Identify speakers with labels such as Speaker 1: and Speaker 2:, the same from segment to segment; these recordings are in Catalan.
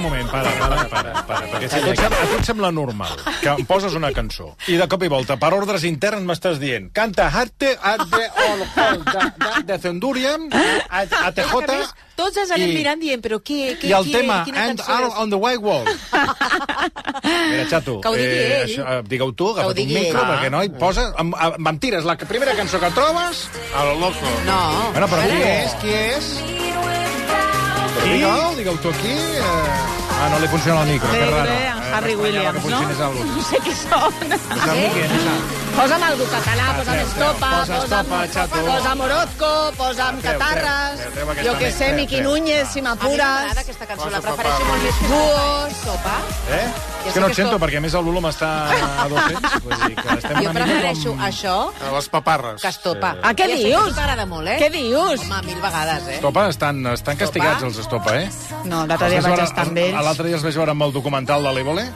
Speaker 1: moment, para, para, para, para perquè si a, tu et sembla, a tu et sembla normal que em poses una cançó i de cop i volta, per ordres interns, m'estàs dient canta Harte, Harte, Ol, Ol, de, de, de Zendurian, a, a TJ,
Speaker 2: Carles, tots ens anem
Speaker 1: I-
Speaker 2: mirant dient, però què, què,
Speaker 1: i el
Speaker 2: qui-
Speaker 1: tema
Speaker 2: quina
Speaker 1: And
Speaker 2: cançó
Speaker 1: All
Speaker 2: és?
Speaker 1: on the White Wall. Mira, xato,
Speaker 2: Que ho digui ell.
Speaker 1: això, eh, digue-ho tu,
Speaker 2: ho
Speaker 1: agafa't un
Speaker 2: digui
Speaker 1: micro,
Speaker 2: ell.
Speaker 1: perquè no hi posa... Em, em, em tires la primera cançó que trobes...
Speaker 3: A lo loco.
Speaker 2: No.
Speaker 1: Bueno, però qui
Speaker 2: Ara.
Speaker 1: és? Qui és? Qui? Digue'l, digue'l tu aquí. Eh... Ah, no li funciona el micro,
Speaker 4: Bé,
Speaker 1: que raro. Eh,
Speaker 4: bé, en Harry Williams,
Speaker 1: que
Speaker 4: no? Ah, eh?
Speaker 1: funcionés el...
Speaker 4: No sé qui són.
Speaker 1: És el Miguel, és el...
Speaker 4: Posa'm algú
Speaker 1: Ah,
Speaker 4: català, posa'm estopa,
Speaker 1: posa
Speaker 4: posa'm,
Speaker 1: estopa, xato.
Speaker 4: posa'm orozco, posa'm
Speaker 1: treu,
Speaker 4: catarras,
Speaker 1: treu, treu aquesta
Speaker 4: jo que
Speaker 1: net,
Speaker 4: sé,
Speaker 1: treu,
Speaker 4: Miqui
Speaker 1: treu.
Speaker 4: Núñez,
Speaker 1: Ah.
Speaker 4: si
Speaker 2: A mi m'agrada
Speaker 4: m'apures,
Speaker 2: aquesta cançó, la
Speaker 3: Posa
Speaker 2: prefereixo
Speaker 3: papà.
Speaker 2: molt més que
Speaker 4: duos...
Speaker 2: sopa.
Speaker 1: Eh? És
Speaker 2: Jo sé
Speaker 1: que no
Speaker 2: que
Speaker 1: et sento,
Speaker 2: sóc-
Speaker 1: perquè a més el volum està a 200. Vull dir que estem una
Speaker 2: Jo
Speaker 1: mica
Speaker 2: prefereixo
Speaker 1: com...
Speaker 2: això
Speaker 3: A les paparres.
Speaker 2: que estopa.
Speaker 4: Ah, què
Speaker 2: I això
Speaker 4: dius?
Speaker 2: sí que M'agrada molt, eh?
Speaker 4: Què dius?
Speaker 2: Home, mil vegades, eh?
Speaker 1: Estopa, estan, estan castigats els Estopa, eh?
Speaker 4: No, l'altre dia
Speaker 1: Els vaig
Speaker 4: vaig
Speaker 1: veure-
Speaker 4: estar amb
Speaker 1: els-
Speaker 4: ells.
Speaker 1: L'altre dia els vaig veure amb el documental de l'Evole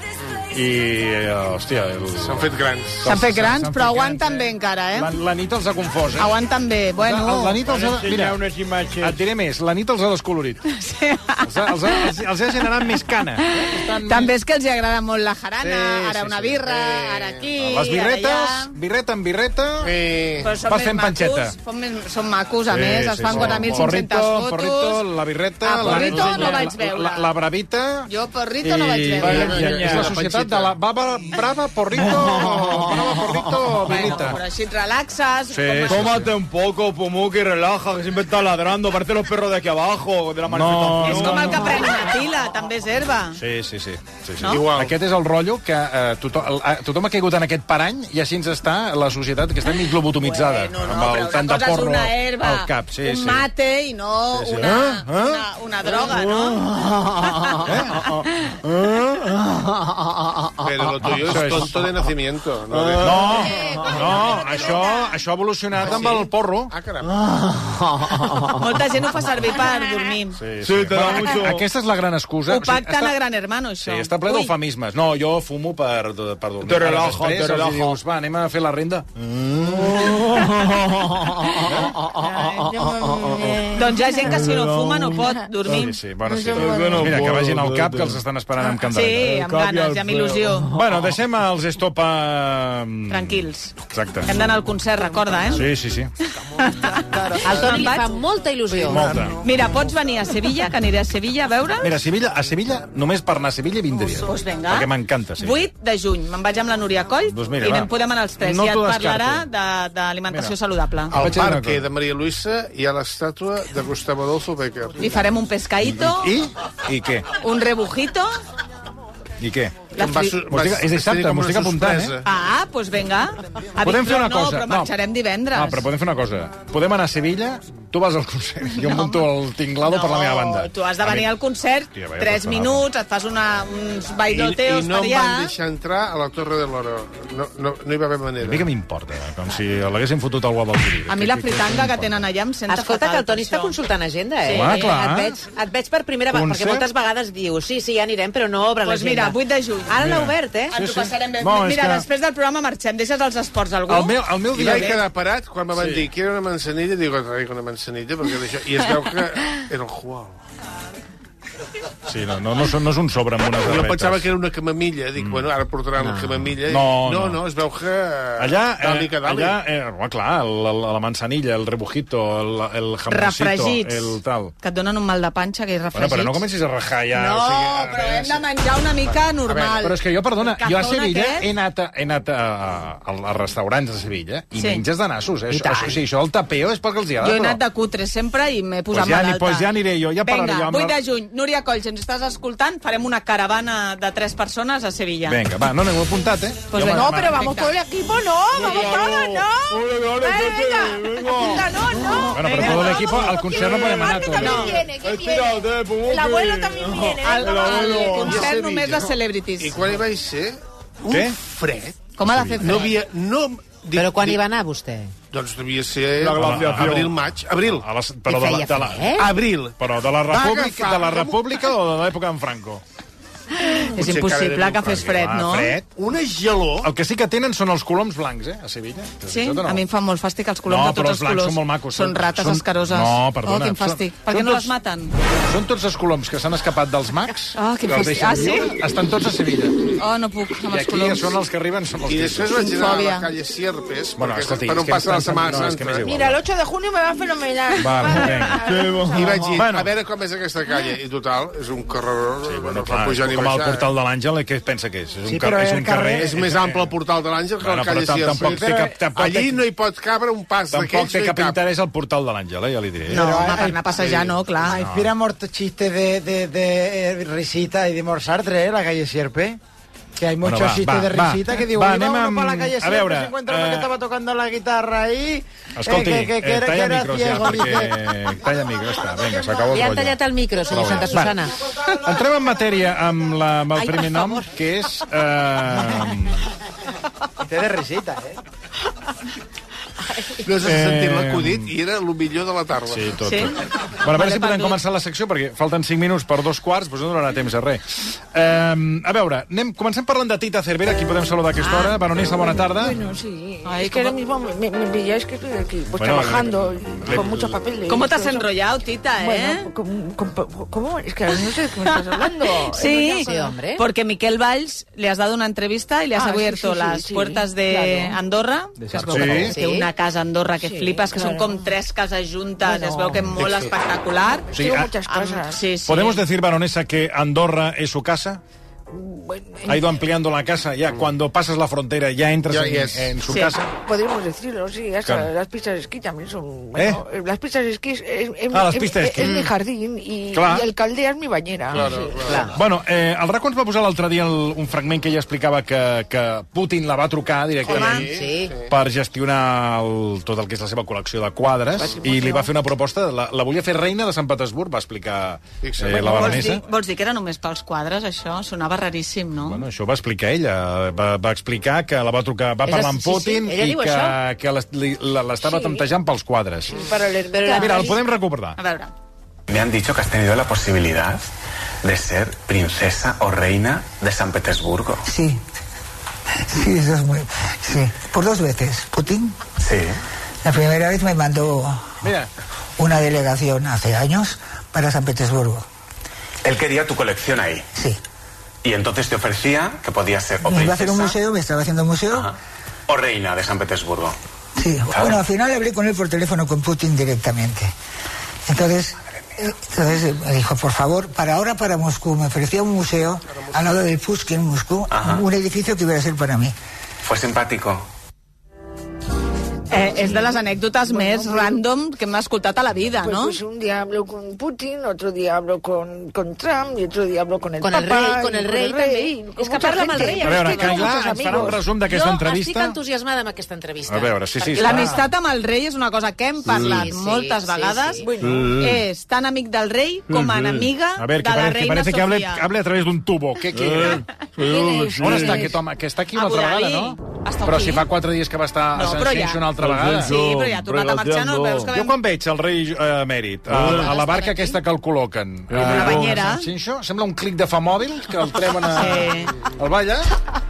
Speaker 1: i, eh, hòstia... El...
Speaker 3: S'han fet grans.
Speaker 4: S'han fet grans,
Speaker 1: s'han
Speaker 4: però
Speaker 1: fet
Speaker 4: aguanten
Speaker 1: grans,
Speaker 4: bé encara, eh?
Speaker 1: La, la nit els ha confós, eh?
Speaker 4: Aguanten bé,
Speaker 1: La, la
Speaker 4: bueno...
Speaker 1: nit els ha... Mira,
Speaker 5: unes imatges.
Speaker 1: et diré més, la nit els ha descolorit.
Speaker 4: Sí.
Speaker 1: Els ha, els ha, els, els ha generat més cana. Estan...
Speaker 4: També és que els hi agrada molt la jarana,
Speaker 1: Sí,
Speaker 4: ara
Speaker 1: sí,
Speaker 4: una
Speaker 1: sí.
Speaker 4: birra,
Speaker 3: Sí.
Speaker 4: ara aquí,
Speaker 1: Les
Speaker 4: ara
Speaker 1: birretes,
Speaker 4: allà...
Speaker 1: birreta amb birreta...
Speaker 3: Sí.
Speaker 4: Però són
Speaker 1: Vas
Speaker 4: més
Speaker 1: fent panxeta.
Speaker 4: macos, són, més, són macos, a
Speaker 1: Sí,
Speaker 4: més,
Speaker 1: sí,
Speaker 4: es fan
Speaker 1: sí.
Speaker 4: 4.500
Speaker 1: Porrito,
Speaker 4: fotos.
Speaker 1: Porrito, la birreta...
Speaker 4: Ah, Porrito
Speaker 1: la,
Speaker 4: no vaig veure.
Speaker 1: La, la bravita...
Speaker 4: Jo Porrito no vaig veure.
Speaker 1: I, i, i la
Speaker 3: La
Speaker 1: societat
Speaker 3: panxeta.
Speaker 1: de la baba, brava, porrito, brava, porrito,
Speaker 4: Bueno,
Speaker 1: birrita.
Speaker 4: però així et relaxes.
Speaker 1: Sí,
Speaker 4: com a-
Speaker 1: com
Speaker 5: Tómate un poco, Pumuki, relaja, que siempre estás ladrando. Parece los perros de aquí abajo, de la
Speaker 1: manifestación.
Speaker 4: És
Speaker 1: No,
Speaker 4: com
Speaker 1: no,
Speaker 4: el que
Speaker 1: no.
Speaker 4: pren una pila, també és herba.
Speaker 1: Sí, sí, sí. sí, sí.
Speaker 4: No?
Speaker 3: Igual.
Speaker 1: Aquest és el rotllo que eh, tothom, el- eh, tothom ha caigut en aquest parany i així ens està la societat que està mig lobotomitzada.
Speaker 4: Bueno, no,
Speaker 1: amb
Speaker 4: però
Speaker 1: el
Speaker 4: una
Speaker 1: tant de
Speaker 4: cosa és
Speaker 1: porro
Speaker 4: una herba,
Speaker 1: al cap. Sí,
Speaker 4: un
Speaker 1: sí.
Speaker 4: mate i no
Speaker 1: Sí, sí.
Speaker 4: Una,
Speaker 1: Ah, ah.
Speaker 4: una, una droga, no?
Speaker 3: Pero lo tuyo
Speaker 1: Això
Speaker 3: es
Speaker 1: és-
Speaker 3: tonto de nacimiento. No, de...
Speaker 1: No, no, això, això ha evolucionat amb el porro.
Speaker 3: Ah, caram.
Speaker 1: Oh.
Speaker 4: Molta gent ho fa servir per dormir.
Speaker 5: Sí, te da mucho.
Speaker 1: Aquesta és la gran excusa.
Speaker 4: Ho pacten a
Speaker 1: està,
Speaker 4: Gran Hermano, això.
Speaker 1: sí, està ple
Speaker 4: Ui,
Speaker 1: d'eufemismes. No, jo fumo per, per dormir.
Speaker 5: Te relajo,
Speaker 1: Ara després
Speaker 5: te
Speaker 1: els
Speaker 5: relajo.
Speaker 1: Dius, va, anem a fer la renda.
Speaker 4: Oh, Doncs hi ha gent que si no fuma no pot dormir.
Speaker 1: Eh. Sí, sí, bueno, sí.
Speaker 5: bueno,
Speaker 1: Mira, que
Speaker 5: porro,
Speaker 1: vagin al cap,
Speaker 5: porro.
Speaker 1: que els estan esperant amb candelera.
Speaker 4: Sí, amb ganes i amb il·lusió.
Speaker 1: Bueno, deixem els estopa...
Speaker 4: Tranquils.
Speaker 1: Exacte.
Speaker 4: Hem d'anar al concert, recorda, eh?
Speaker 1: Sí, sí, sí.
Speaker 2: Al Toni li fa molta il·lusió.
Speaker 1: Molta.
Speaker 4: Mira, pots venir a Sevilla, que aniré a Sevilla a veure.
Speaker 1: Mira, a Sevilla, a Sevilla, només per anar a Sevilla vindria.
Speaker 2: Doncs
Speaker 4: Pues venga.
Speaker 1: Perquè m'encanta Sevilla.
Speaker 4: 8 de juny. Me'n vaig amb la Núria Coll
Speaker 1: Doncs mira,
Speaker 4: i
Speaker 1: va.
Speaker 4: anem, podem anar els tres.
Speaker 1: No
Speaker 4: I et
Speaker 1: t'ho
Speaker 4: parlarà
Speaker 1: descarto.
Speaker 4: de- d'alimentació
Speaker 1: Mira. Ah,
Speaker 4: saludable.
Speaker 3: Al
Speaker 1: Vaig a dir una
Speaker 3: parque
Speaker 1: cosa.
Speaker 3: de Maria Luisa hi ha l'estàtua de Gustavo Adolfo Becker.
Speaker 4: I farem un pescaito,
Speaker 1: I? I què?
Speaker 4: un rebujito...
Speaker 1: I què?
Speaker 4: La
Speaker 3: Em va
Speaker 4: fri-
Speaker 3: su-
Speaker 1: M'ho estic-
Speaker 3: va-
Speaker 1: és dissabte,
Speaker 3: va ser com
Speaker 1: m'ho
Speaker 3: una
Speaker 1: estic apuntant, eh?
Speaker 3: sorpresa.
Speaker 4: Ah, doncs vinga. A
Speaker 1: Podem fer
Speaker 4: Vic-
Speaker 1: una
Speaker 4: no,
Speaker 1: cosa.
Speaker 4: però marxarem divendres.
Speaker 1: No, Ah, però podem fer una cosa. Podem anar a Sevilla, tu vas al concert, jo no, munto el tinglado per la meva banda.
Speaker 4: Tu has de venir al concert,
Speaker 1: Ja, vaja,
Speaker 4: 3
Speaker 1: per favor.
Speaker 4: minuts, et fas una, uns
Speaker 3: I, I
Speaker 4: bailoteos
Speaker 3: no
Speaker 4: per
Speaker 3: em
Speaker 4: allà...
Speaker 3: van deixar entrar a la Torre de l'Oro. No, no, no hi va haver
Speaker 1: A mi
Speaker 3: manera.
Speaker 1: què m'importa? eh? Com si l'haguessin fotut al guap al Siri.
Speaker 4: A mi la fritanga que tenen allà em senta
Speaker 2: Escolta,
Speaker 4: fatal,
Speaker 2: que el Toni
Speaker 4: per
Speaker 2: està
Speaker 4: això.
Speaker 2: consultant agenda, eh?
Speaker 1: Sí. Home, clar.
Speaker 2: Et veig, et veig per primera vegada, perquè
Speaker 1: Concert?
Speaker 2: moltes vegades diu, sí, sí, ja anirem, però no obre
Speaker 4: Doncs mira,
Speaker 2: l'agenda.
Speaker 4: 8 de juny.
Speaker 2: Ara l'ha
Speaker 1: Mira.
Speaker 2: obert, eh?
Speaker 4: Ens ho passarem bé.
Speaker 1: No, és
Speaker 4: Mira,
Speaker 1: que-
Speaker 4: després del programa marxem. Deixes els esports a algú?
Speaker 1: El meu, el meu
Speaker 3: I
Speaker 1: dia...
Speaker 3: vaig quedar parat quan me van dir que era una manzanilla, dic, traigo una manzanilla, perquè d'això... I es veu que era el Juan.
Speaker 1: Sí, no, no, no, són- no és un sobre amb unes
Speaker 3: Jo
Speaker 1: barretes.
Speaker 3: pensava que era una camamilla, dic, bueno, ara portaran no. la camamilla. I-
Speaker 1: Mm. No,
Speaker 3: no,
Speaker 1: no.
Speaker 3: no, es veu que...
Speaker 1: Allà,
Speaker 3: Dali
Speaker 1: eh,
Speaker 3: que dali.
Speaker 1: allà eh, home, clar, la, la, la manzanilla, el rebujito, el, el jamoncito,
Speaker 4: Refregits.
Speaker 1: el tal.
Speaker 4: Que et donen un mal de panxa, que és
Speaker 1: Bueno,
Speaker 4: refregits.
Speaker 1: però no comencis a rajar ja.
Speaker 4: No,
Speaker 1: o sigui, eh, a
Speaker 4: però
Speaker 1: veure,
Speaker 4: hem
Speaker 1: sí.
Speaker 4: de menjar una mica normal.
Speaker 1: Però és que jo, perdona,
Speaker 4: El
Speaker 1: jo a
Speaker 4: cazón
Speaker 1: Sevilla
Speaker 4: aquest-
Speaker 1: he anat, a, he anat a, a, a restaurants de Sevilla i
Speaker 4: Sí.
Speaker 1: menges de nassos, eh?
Speaker 4: I
Speaker 1: Això,
Speaker 4: tant.
Speaker 1: això, sí, això el tapeo és perquè els hi ha
Speaker 4: Jo he anat de cutre sempre i m'he posat
Speaker 1: Pues ja ni-
Speaker 4: malalta.
Speaker 1: pues ja aniré jo, ja parlaré
Speaker 4: Vinga,
Speaker 1: jo amb la-
Speaker 4: 8 de juny. Núria Coll, si ens estàs escoltant, farem una caravana de 3 persones a Sevilla.
Speaker 1: Vinga, va, no n'heu apuntat, eh?
Speaker 4: Pues
Speaker 1: Jo
Speaker 4: venga.
Speaker 1: me-
Speaker 4: No,
Speaker 1: me-
Speaker 4: pero vamos
Speaker 2: todo el equipo, no, vamos todos,
Speaker 5: Ole, ole, Pepe, venga.
Speaker 2: no, no.
Speaker 1: Bueno, pero todo el equipo al concert no podem anar tots.
Speaker 4: No.
Speaker 5: Estírate, Pumuki.
Speaker 4: El,
Speaker 5: El
Speaker 4: el
Speaker 5: abuelo.
Speaker 3: I a
Speaker 4: concert
Speaker 3: Sevilla?
Speaker 4: només les celebrities.
Speaker 3: I quan hi vaig ser, un
Speaker 1: Què?
Speaker 3: fred.
Speaker 4: Com ha de fer
Speaker 3: No
Speaker 4: fred?
Speaker 3: havia... No, dic,
Speaker 2: Però quan
Speaker 3: dic-
Speaker 2: hi va anar, vostè?
Speaker 3: Doncs devia ser
Speaker 5: La glaciació.
Speaker 3: abril, maig. Abril.
Speaker 1: A les, però, de la,
Speaker 2: feia
Speaker 1: de la,
Speaker 2: fred?
Speaker 3: Abril.
Speaker 1: però de la
Speaker 3: Va
Speaker 1: república,
Speaker 3: agafar
Speaker 1: de la
Speaker 3: com un-
Speaker 1: república o de l'època en Franco?
Speaker 4: És
Speaker 3: Potser cada
Speaker 4: impossible
Speaker 3: dia
Speaker 4: que fes fred,
Speaker 1: Ah,
Speaker 4: no?
Speaker 1: fred.
Speaker 3: Una gelor...
Speaker 1: El que sí que tenen són els coloms blancs, eh, a Sevilla.
Speaker 4: Sí?
Speaker 1: Això no.
Speaker 4: A mi em fan molt fàstic els coloms
Speaker 1: No,
Speaker 4: de
Speaker 1: però
Speaker 4: tots
Speaker 1: els
Speaker 4: els
Speaker 1: blancs són
Speaker 4: colors.
Speaker 1: molt macos.
Speaker 4: Són rates
Speaker 1: Són-
Speaker 4: escaroses.
Speaker 1: No, perdona,
Speaker 4: Oh, quin
Speaker 1: són-
Speaker 4: fàstic.
Speaker 1: són
Speaker 4: Per què no
Speaker 1: tots-
Speaker 4: les maten?
Speaker 1: Són tots els coloms que s'han escapat dels mags.
Speaker 4: Ah, que
Speaker 1: que els
Speaker 4: fàstic.
Speaker 1: deixen
Speaker 4: Ah, sí?
Speaker 1: lliures, Estan tots a Sevilla.
Speaker 4: Oh, no puc, amb
Speaker 1: I
Speaker 4: els
Speaker 1: aquí
Speaker 4: coloms.
Speaker 1: són els que arriben, són els
Speaker 3: I
Speaker 1: tristos.
Speaker 3: després vaig anar a la
Speaker 4: Fòbia.
Speaker 3: calle Sierpes,
Speaker 1: Bueno,
Speaker 3: perquè
Speaker 1: escolti,
Speaker 3: per
Speaker 1: és
Speaker 3: on
Speaker 1: que
Speaker 3: passa la
Speaker 1: m'estan-
Speaker 3: Setmana
Speaker 1: no, és que m'és
Speaker 3: Santa.
Speaker 1: igual.
Speaker 6: Mira, el 8 de junio me va fenomenal.
Speaker 1: Vamos, venga.
Speaker 3: I vaig dir,
Speaker 1: Bueno.
Speaker 3: a veure com és aquesta calle. I total, és un carreró,
Speaker 1: Sí,
Speaker 3: no
Speaker 1: bueno,
Speaker 3: fa
Speaker 1: clar,
Speaker 3: pujar
Speaker 1: Ah, és
Speaker 3: ni
Speaker 1: com el
Speaker 3: baixar.
Speaker 1: portal de l'Àngel, eh, què pensa que és? És un,
Speaker 7: Sí,
Speaker 1: car-
Speaker 7: però
Speaker 1: és
Speaker 7: el
Speaker 1: un
Speaker 7: carrer-
Speaker 1: carrer...
Speaker 3: És més ample el portal de l'àngel que
Speaker 1: Bueno,
Speaker 3: la calle
Speaker 1: però tam- tampoc té cap-
Speaker 3: Sierpes.
Speaker 1: tampoc té-
Speaker 3: Allí no hi pot cabre un pas
Speaker 1: Tampoc
Speaker 3: d'aquells,
Speaker 1: té
Speaker 3: no hi
Speaker 1: cap
Speaker 3: cap.
Speaker 1: interès el portal de l'Àngel, eh, ja li diré.
Speaker 4: No,
Speaker 7: Però,
Speaker 4: home,
Speaker 7: ai,
Speaker 4: per anar a passejar no, clar.
Speaker 7: Ah, inspira muchos chistes de, de, de eh, risita y de morsartre, eh, la calle Sierpe. Que hay muchos
Speaker 1: Bueno, va,
Speaker 7: chistes
Speaker 1: va,
Speaker 7: de
Speaker 1: va.
Speaker 7: risita que digo,
Speaker 1: Va,
Speaker 7: iba
Speaker 1: anem
Speaker 7: uno
Speaker 1: amb-
Speaker 7: por la calle
Speaker 1: a
Speaker 7: Sierpe,
Speaker 1: veure,
Speaker 7: se encuentra uno
Speaker 1: eh,
Speaker 7: que estaba tocando la guitarra ahí, eh,
Speaker 1: Escolti,
Speaker 7: que, que, que,
Speaker 1: eh,
Speaker 7: era, que
Speaker 1: talla
Speaker 7: era
Speaker 1: micros ja,
Speaker 7: ciego, dice.
Speaker 1: perquè... Talla micros, està. Vinga, s'acabó el
Speaker 2: Li han
Speaker 1: rotllo.
Speaker 2: tallat el micro, senyor Santa
Speaker 1: Va.
Speaker 2: Susana.
Speaker 1: Entrem en matèria amb, la, amb el
Speaker 2: Ai, per
Speaker 1: primer nom,
Speaker 2: favor.
Speaker 1: que és... Eh,
Speaker 7: Té de risita, eh?
Speaker 3: No sé si
Speaker 1: Eh,
Speaker 3: sentir l'acudit i era el millor de la tarda.
Speaker 1: sí, tot,
Speaker 4: Sí?
Speaker 1: tot. Bueno, a veure
Speaker 4: Vale,
Speaker 1: si podem
Speaker 4: Pablo.
Speaker 1: començar la secció, perquè falten 5 minuts per dos quarts, doncs no donarà temps a res. Um, a veure, anem, comencem parlant de Tita Cervera, aquí podem saludar a
Speaker 2: Ah.
Speaker 1: aquesta hora. Veronisa, bona tarda.
Speaker 6: Bueno, sí.
Speaker 4: Ay,
Speaker 6: es que
Speaker 4: ¿cómo-
Speaker 6: ahora mismo me, me, me pilláis que estoy aquí, pues
Speaker 1: Bueno,
Speaker 6: trabajando
Speaker 1: le-
Speaker 6: con
Speaker 1: le-
Speaker 6: muchos papeles.
Speaker 4: ¿Cómo te has
Speaker 6: Entonces,
Speaker 4: enrollado, Tita, eh?
Speaker 6: Bueno, con- con- con- ¿cómo? Es que no sé de qué me estás hablando.
Speaker 1: Oh,
Speaker 4: Sí,
Speaker 2: Sí, hombre.
Speaker 4: porque Miquel Valls le has dado una entrevista y le has
Speaker 6: Ah, sí,
Speaker 4: abierto
Speaker 6: sí, sí,
Speaker 4: las
Speaker 6: sí,
Speaker 4: puertas de
Speaker 6: claro.
Speaker 4: Andorra, que es veu
Speaker 1: Sí.
Speaker 4: que
Speaker 1: Sí.
Speaker 4: té una casa a Andorra que
Speaker 6: Sí,
Speaker 4: flipes, que són
Speaker 6: claro.
Speaker 4: com tres cases juntes,
Speaker 6: Bueno.
Speaker 4: es veu que molt espectacular.
Speaker 1: O
Speaker 6: Tengo
Speaker 1: a-
Speaker 6: muchas
Speaker 4: Am-
Speaker 6: cosas.
Speaker 4: sí, sí.
Speaker 1: ¿Podemos decir, baronesa, que Andorra es su casa?
Speaker 6: Bueno,
Speaker 1: Ha ido ampliando la casa, ya cuando pasas la frontera ya entras
Speaker 3: Ya,
Speaker 1: en,
Speaker 3: yes.
Speaker 1: en su
Speaker 4: Sí.
Speaker 1: casa.
Speaker 6: Podemos decirlo, sí, hasta
Speaker 1: Claro.
Speaker 6: las pistas de esquí también son... Bueno, eh, Las pistas de esquí es, es- es-
Speaker 1: ¿Eh? Ah, las
Speaker 6: es-
Speaker 1: pistas de
Speaker 6: es-
Speaker 1: esquí.
Speaker 6: es mi jardín y,
Speaker 1: Claro.
Speaker 6: y el caldea es mi bañera.
Speaker 3: Claro,
Speaker 6: Sí.
Speaker 3: clar.
Speaker 1: Bueno, eh, el RACO ens va posar l'altre dia el, un fragment que ella explicava que, que Putin la va trucar directament
Speaker 2: Sí.
Speaker 1: per gestionar el, tot el que és la seva col·lecció de quadres i li va fer una proposta, la, la volia fer reina de Sant Petersburg, va explicar
Speaker 3: Fixa't.
Speaker 1: eh, la
Speaker 3: Vols
Speaker 4: Vols dir,
Speaker 1: baronesa.
Speaker 4: vols dir que era només pels quadres, això? Sonava raríssim, no?
Speaker 1: Bueno, això ho va explicar ella. Va, va explicar que la va trucar, va
Speaker 2: És
Speaker 1: parlar
Speaker 2: a-
Speaker 1: amb
Speaker 2: sí, sí,
Speaker 1: Putin
Speaker 2: ella
Speaker 1: i
Speaker 2: diu
Speaker 1: que,
Speaker 2: això.
Speaker 1: que l'est- li- la- l'estava
Speaker 6: Sí.
Speaker 1: temptejant pels quadres.
Speaker 6: Para alertar.
Speaker 1: Mira, el podem recordar.
Speaker 4: A veure,
Speaker 8: Me han dicho que has tenido la posibilidad de ser princesa o reina de San Petersburgo.
Speaker 9: Sí. Sí, eso es muy... Sí, por dos veces. Putin,
Speaker 8: Sí.
Speaker 9: la primera vez me mandó
Speaker 1: Mira,
Speaker 9: una delegación hace años para San Petersburgo.
Speaker 8: Él quería tu colección ahí.
Speaker 9: Sí.
Speaker 8: Y entonces te ofrecía que podías ser o
Speaker 9: Me iba a hacer un
Speaker 8: princesa
Speaker 9: museo, me estaba haciendo un museo.
Speaker 8: ajá, o reina de San Petersburgo.
Speaker 9: Sí.
Speaker 8: Claro.
Speaker 9: Bueno, al final hablé con él por teléfono con Putin directamente. Entonces, eh, entonces eh, me dijo, por favor, para ahora para Moscú, me ofrecía un museo al lado del Pushkin, Moscú,
Speaker 8: Ajá.
Speaker 9: un edificio que iba a ser para mí.
Speaker 8: Fue simpático.
Speaker 4: eh, és de les anècdotes més random que hem escoltat a la vida,
Speaker 6: Pues,
Speaker 4: no?
Speaker 6: pues un día hablo con Putin, otro día hablo con, con Trump y otro día hablo con el
Speaker 2: Con el
Speaker 6: Papa.
Speaker 2: rei,
Speaker 6: y
Speaker 2: con el rei
Speaker 6: y
Speaker 2: també.
Speaker 6: con
Speaker 2: És que
Speaker 6: mucha
Speaker 2: parla amb el
Speaker 6: gente.
Speaker 2: rei.
Speaker 1: A
Speaker 2: és
Speaker 1: veure,
Speaker 2: que
Speaker 1: que
Speaker 2: no.
Speaker 6: tengo
Speaker 1: clar,
Speaker 6: muchos
Speaker 1: ens farà un
Speaker 6: amigos.
Speaker 1: resum d'aquesta
Speaker 2: Jo estic
Speaker 1: entrevista.
Speaker 2: entusiasmada amb aquesta entrevista.
Speaker 1: A veure, sí, sí,
Speaker 2: Perquè-
Speaker 1: clar.
Speaker 4: L'amistat amb el rei és una cosa que hem parlat
Speaker 2: Sí, sí,
Speaker 4: moltes
Speaker 2: sí,
Speaker 4: vegades.
Speaker 2: sí.
Speaker 4: És tan amic del rei com a enemiga
Speaker 1: Mm. Mm-hmm. A ver, que
Speaker 4: de la
Speaker 1: parece, que,
Speaker 4: reina
Speaker 1: parece que
Speaker 4: Sofia.
Speaker 1: hable, hable a través d'un tubo. Què quiere? On està aquest home? Que està aquí una
Speaker 4: A
Speaker 1: altra
Speaker 4: Budapest.
Speaker 1: vegada, no?
Speaker 4: Està
Speaker 1: Però
Speaker 4: aquí.
Speaker 1: si fa quatre dies que va estar a
Speaker 4: No, però
Speaker 1: Sensation
Speaker 4: ja.
Speaker 1: una altra vegada.
Speaker 4: Sí, però ja ha tornat a marxar, no? Veus que
Speaker 1: Jo
Speaker 4: vam...
Speaker 1: quan veig el rei eh, emèrit a, a la barca aquesta que el col·loquen eh,
Speaker 4: Ah. una
Speaker 1: a
Speaker 4: banyera.
Speaker 1: Sanxenxo, sembla un clic de fa mòbil que el treuen a... eh?
Speaker 4: Sí.
Speaker 1: El va allà?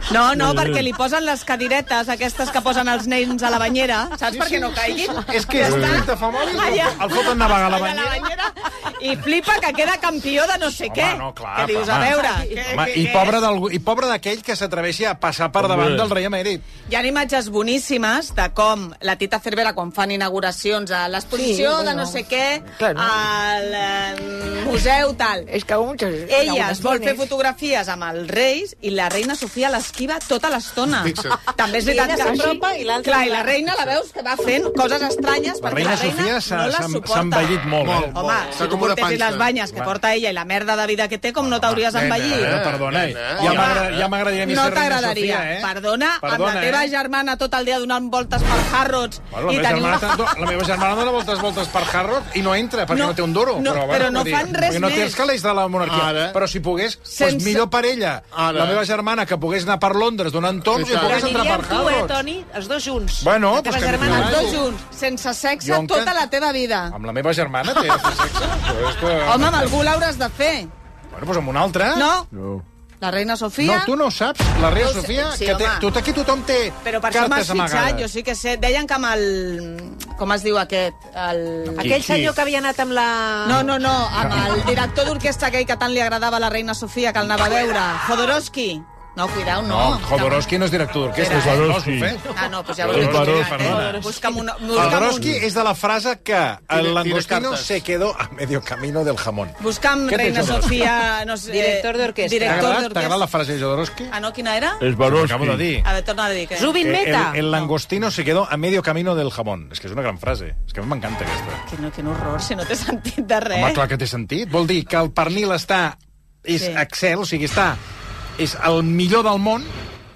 Speaker 4: No, no,
Speaker 1: Mm.
Speaker 4: perquè li posen les cadiretes, aquestes que posen els nens a la banyera, saps? perquè no caiguin.
Speaker 1: És que és un clic de fa mòbil que
Speaker 4: Allà.
Speaker 1: el foten navegar a la
Speaker 4: Allà a la
Speaker 1: banyera.
Speaker 4: banyera I flipa que queda campió de no sé
Speaker 1: Home,
Speaker 4: què.
Speaker 1: no, clar,
Speaker 4: que dius,
Speaker 1: però,
Speaker 4: a
Speaker 1: home.
Speaker 4: veure...
Speaker 1: Home, i, pobre d'algú- I pobre d'aquell que s'atreveixi a passar per davant del rei emèrit.
Speaker 4: Hi ha imatges boníssimes de com la Tita Cervera, quan fan inauguracions a l'exposició
Speaker 6: Sí,
Speaker 4: de
Speaker 6: bueno.
Speaker 4: no sé què,
Speaker 6: Claro.
Speaker 4: al eh, museu, tal.
Speaker 6: Es que hago muchas
Speaker 4: Ella es vol fer
Speaker 6: inauguraciones.
Speaker 4: fotografies amb els reis i la reina Sofia l'esquiva tota l'estona.
Speaker 3: Fixa't.
Speaker 4: També és veritat
Speaker 2: I ella
Speaker 4: que...
Speaker 2: s'apropa i l'altra-
Speaker 4: Clar, i la reina la veus que va fent coses estranyes
Speaker 1: La
Speaker 4: perquè
Speaker 1: reina
Speaker 4: la reina
Speaker 1: Sofia s'ha
Speaker 4: no la
Speaker 1: s'ha-
Speaker 4: suporta.
Speaker 1: s'ha envellit molt.
Speaker 3: Molt.
Speaker 1: eh?
Speaker 4: Home,
Speaker 3: Està
Speaker 4: si tu
Speaker 3: com una
Speaker 4: portessis
Speaker 3: panxa.
Speaker 4: les banyes que porta ella i la merda de vida que té, com no t'hauries d'envellir?
Speaker 1: Nena,
Speaker 3: Eh,
Speaker 1: perdona, eh? ja
Speaker 3: nena.
Speaker 4: Home,
Speaker 1: m'agradaria ja m'agradaria a mi
Speaker 4: no
Speaker 1: ser reina
Speaker 4: t'agradaria.
Speaker 1: Sofia, eh?
Speaker 4: Perdona, amb la
Speaker 1: Perdona,
Speaker 4: teva
Speaker 1: eh?
Speaker 4: germana tot el dia donant voltes per Harrods
Speaker 1: Bueno, la,
Speaker 4: i
Speaker 1: meva
Speaker 4: tenir
Speaker 1: germana,
Speaker 4: una...
Speaker 1: tanto, la meva germana dona voltes voltes per Harrod i no entra, perquè no,
Speaker 4: No,
Speaker 1: no té un duro.
Speaker 4: no,
Speaker 1: bueno,
Speaker 4: però no
Speaker 1: vull dir,
Speaker 4: fan res
Speaker 1: perquè no té
Speaker 4: més.
Speaker 1: els calés de la monarquia.
Speaker 3: Ara.
Speaker 1: Però si pogués, doncs
Speaker 4: Sense-
Speaker 1: millor per ella.
Speaker 3: Ara.
Speaker 1: La meva germana, que pogués anar per Londres donant toms
Speaker 3: Sí,
Speaker 1: i
Speaker 3: tant.
Speaker 1: pogués
Speaker 2: Però
Speaker 1: entrar per
Speaker 2: aniríem tu, eh,
Speaker 1: Harrod.
Speaker 2: Toni? Els dos junts.
Speaker 1: Bueno,
Speaker 2: La teva
Speaker 1: pues que
Speaker 2: germana,
Speaker 1: aniríem.
Speaker 4: Els
Speaker 2: els
Speaker 4: dos junts, sense sexe,
Speaker 1: Jo encara-
Speaker 4: tota la teva vida.
Speaker 1: Amb la meva germana té sexe? Però és que...
Speaker 4: Home, amb algú l'hauràs de fer.
Speaker 1: Bueno, doncs amb un altre.
Speaker 4: No?
Speaker 1: No.
Speaker 4: La reina Sofia...
Speaker 1: No, tu no ho saps, la Rea
Speaker 4: No ho sé,
Speaker 1: Sofia,
Speaker 4: sí,
Speaker 1: que té,
Speaker 4: home.
Speaker 1: tot aquí tothom té
Speaker 4: Però per això m'has
Speaker 1: cartes
Speaker 4: fitxat, jo
Speaker 1: amagades.
Speaker 4: sí que sé. Deien que amb el... Com es diu aquest? El...
Speaker 2: Aquell senyor que havia anat amb la...
Speaker 4: No, no, no, amb el director d'orquestra aquell que tant li agradava a la reina Sofia, que el anava a veure. Jodorowsky. No, cuidao, no.
Speaker 1: No, Jodorowsky no és director d'orquestra. eh?
Speaker 4: Era,
Speaker 1: no,
Speaker 5: Jodorowsky.
Speaker 1: és ofès.
Speaker 4: Ah, no, pues ja ho he
Speaker 1: Jodorowsky.
Speaker 4: eh? Busca'm una... Busca'm,
Speaker 1: Jodorowsky
Speaker 4: un,
Speaker 1: és de la frase que
Speaker 3: Tira-
Speaker 1: el
Speaker 3: tira
Speaker 1: langostino
Speaker 3: cartes.
Speaker 1: se quedó a medio camino del jamón.
Speaker 4: busca'm
Speaker 1: Què té
Speaker 4: reina
Speaker 1: Jodorowsky?
Speaker 4: Sofia... No sé,
Speaker 2: Director d'orquestra.
Speaker 1: T'ha
Speaker 4: Director
Speaker 1: agradat? T'ha agradat
Speaker 4: d'orquestra.
Speaker 1: la frase de Jodorowsky?
Speaker 4: Ah, no, quina era?
Speaker 5: Es
Speaker 1: Acabo de dir.
Speaker 4: A ver, torna a dir que...
Speaker 2: Zubin
Speaker 1: Eh,
Speaker 2: Meta.
Speaker 1: El, el langostino se quedó a medio camino del jamón. És que és una gran frase. És que a mi m'encanta aquesta.
Speaker 4: Que no, que no horror, si no t'he sentit de res.
Speaker 1: Home, clar que té sentit. Vol dir que el pernil està... És
Speaker 4: Sí.
Speaker 1: sí. excel, o sigui, està... És el millor del món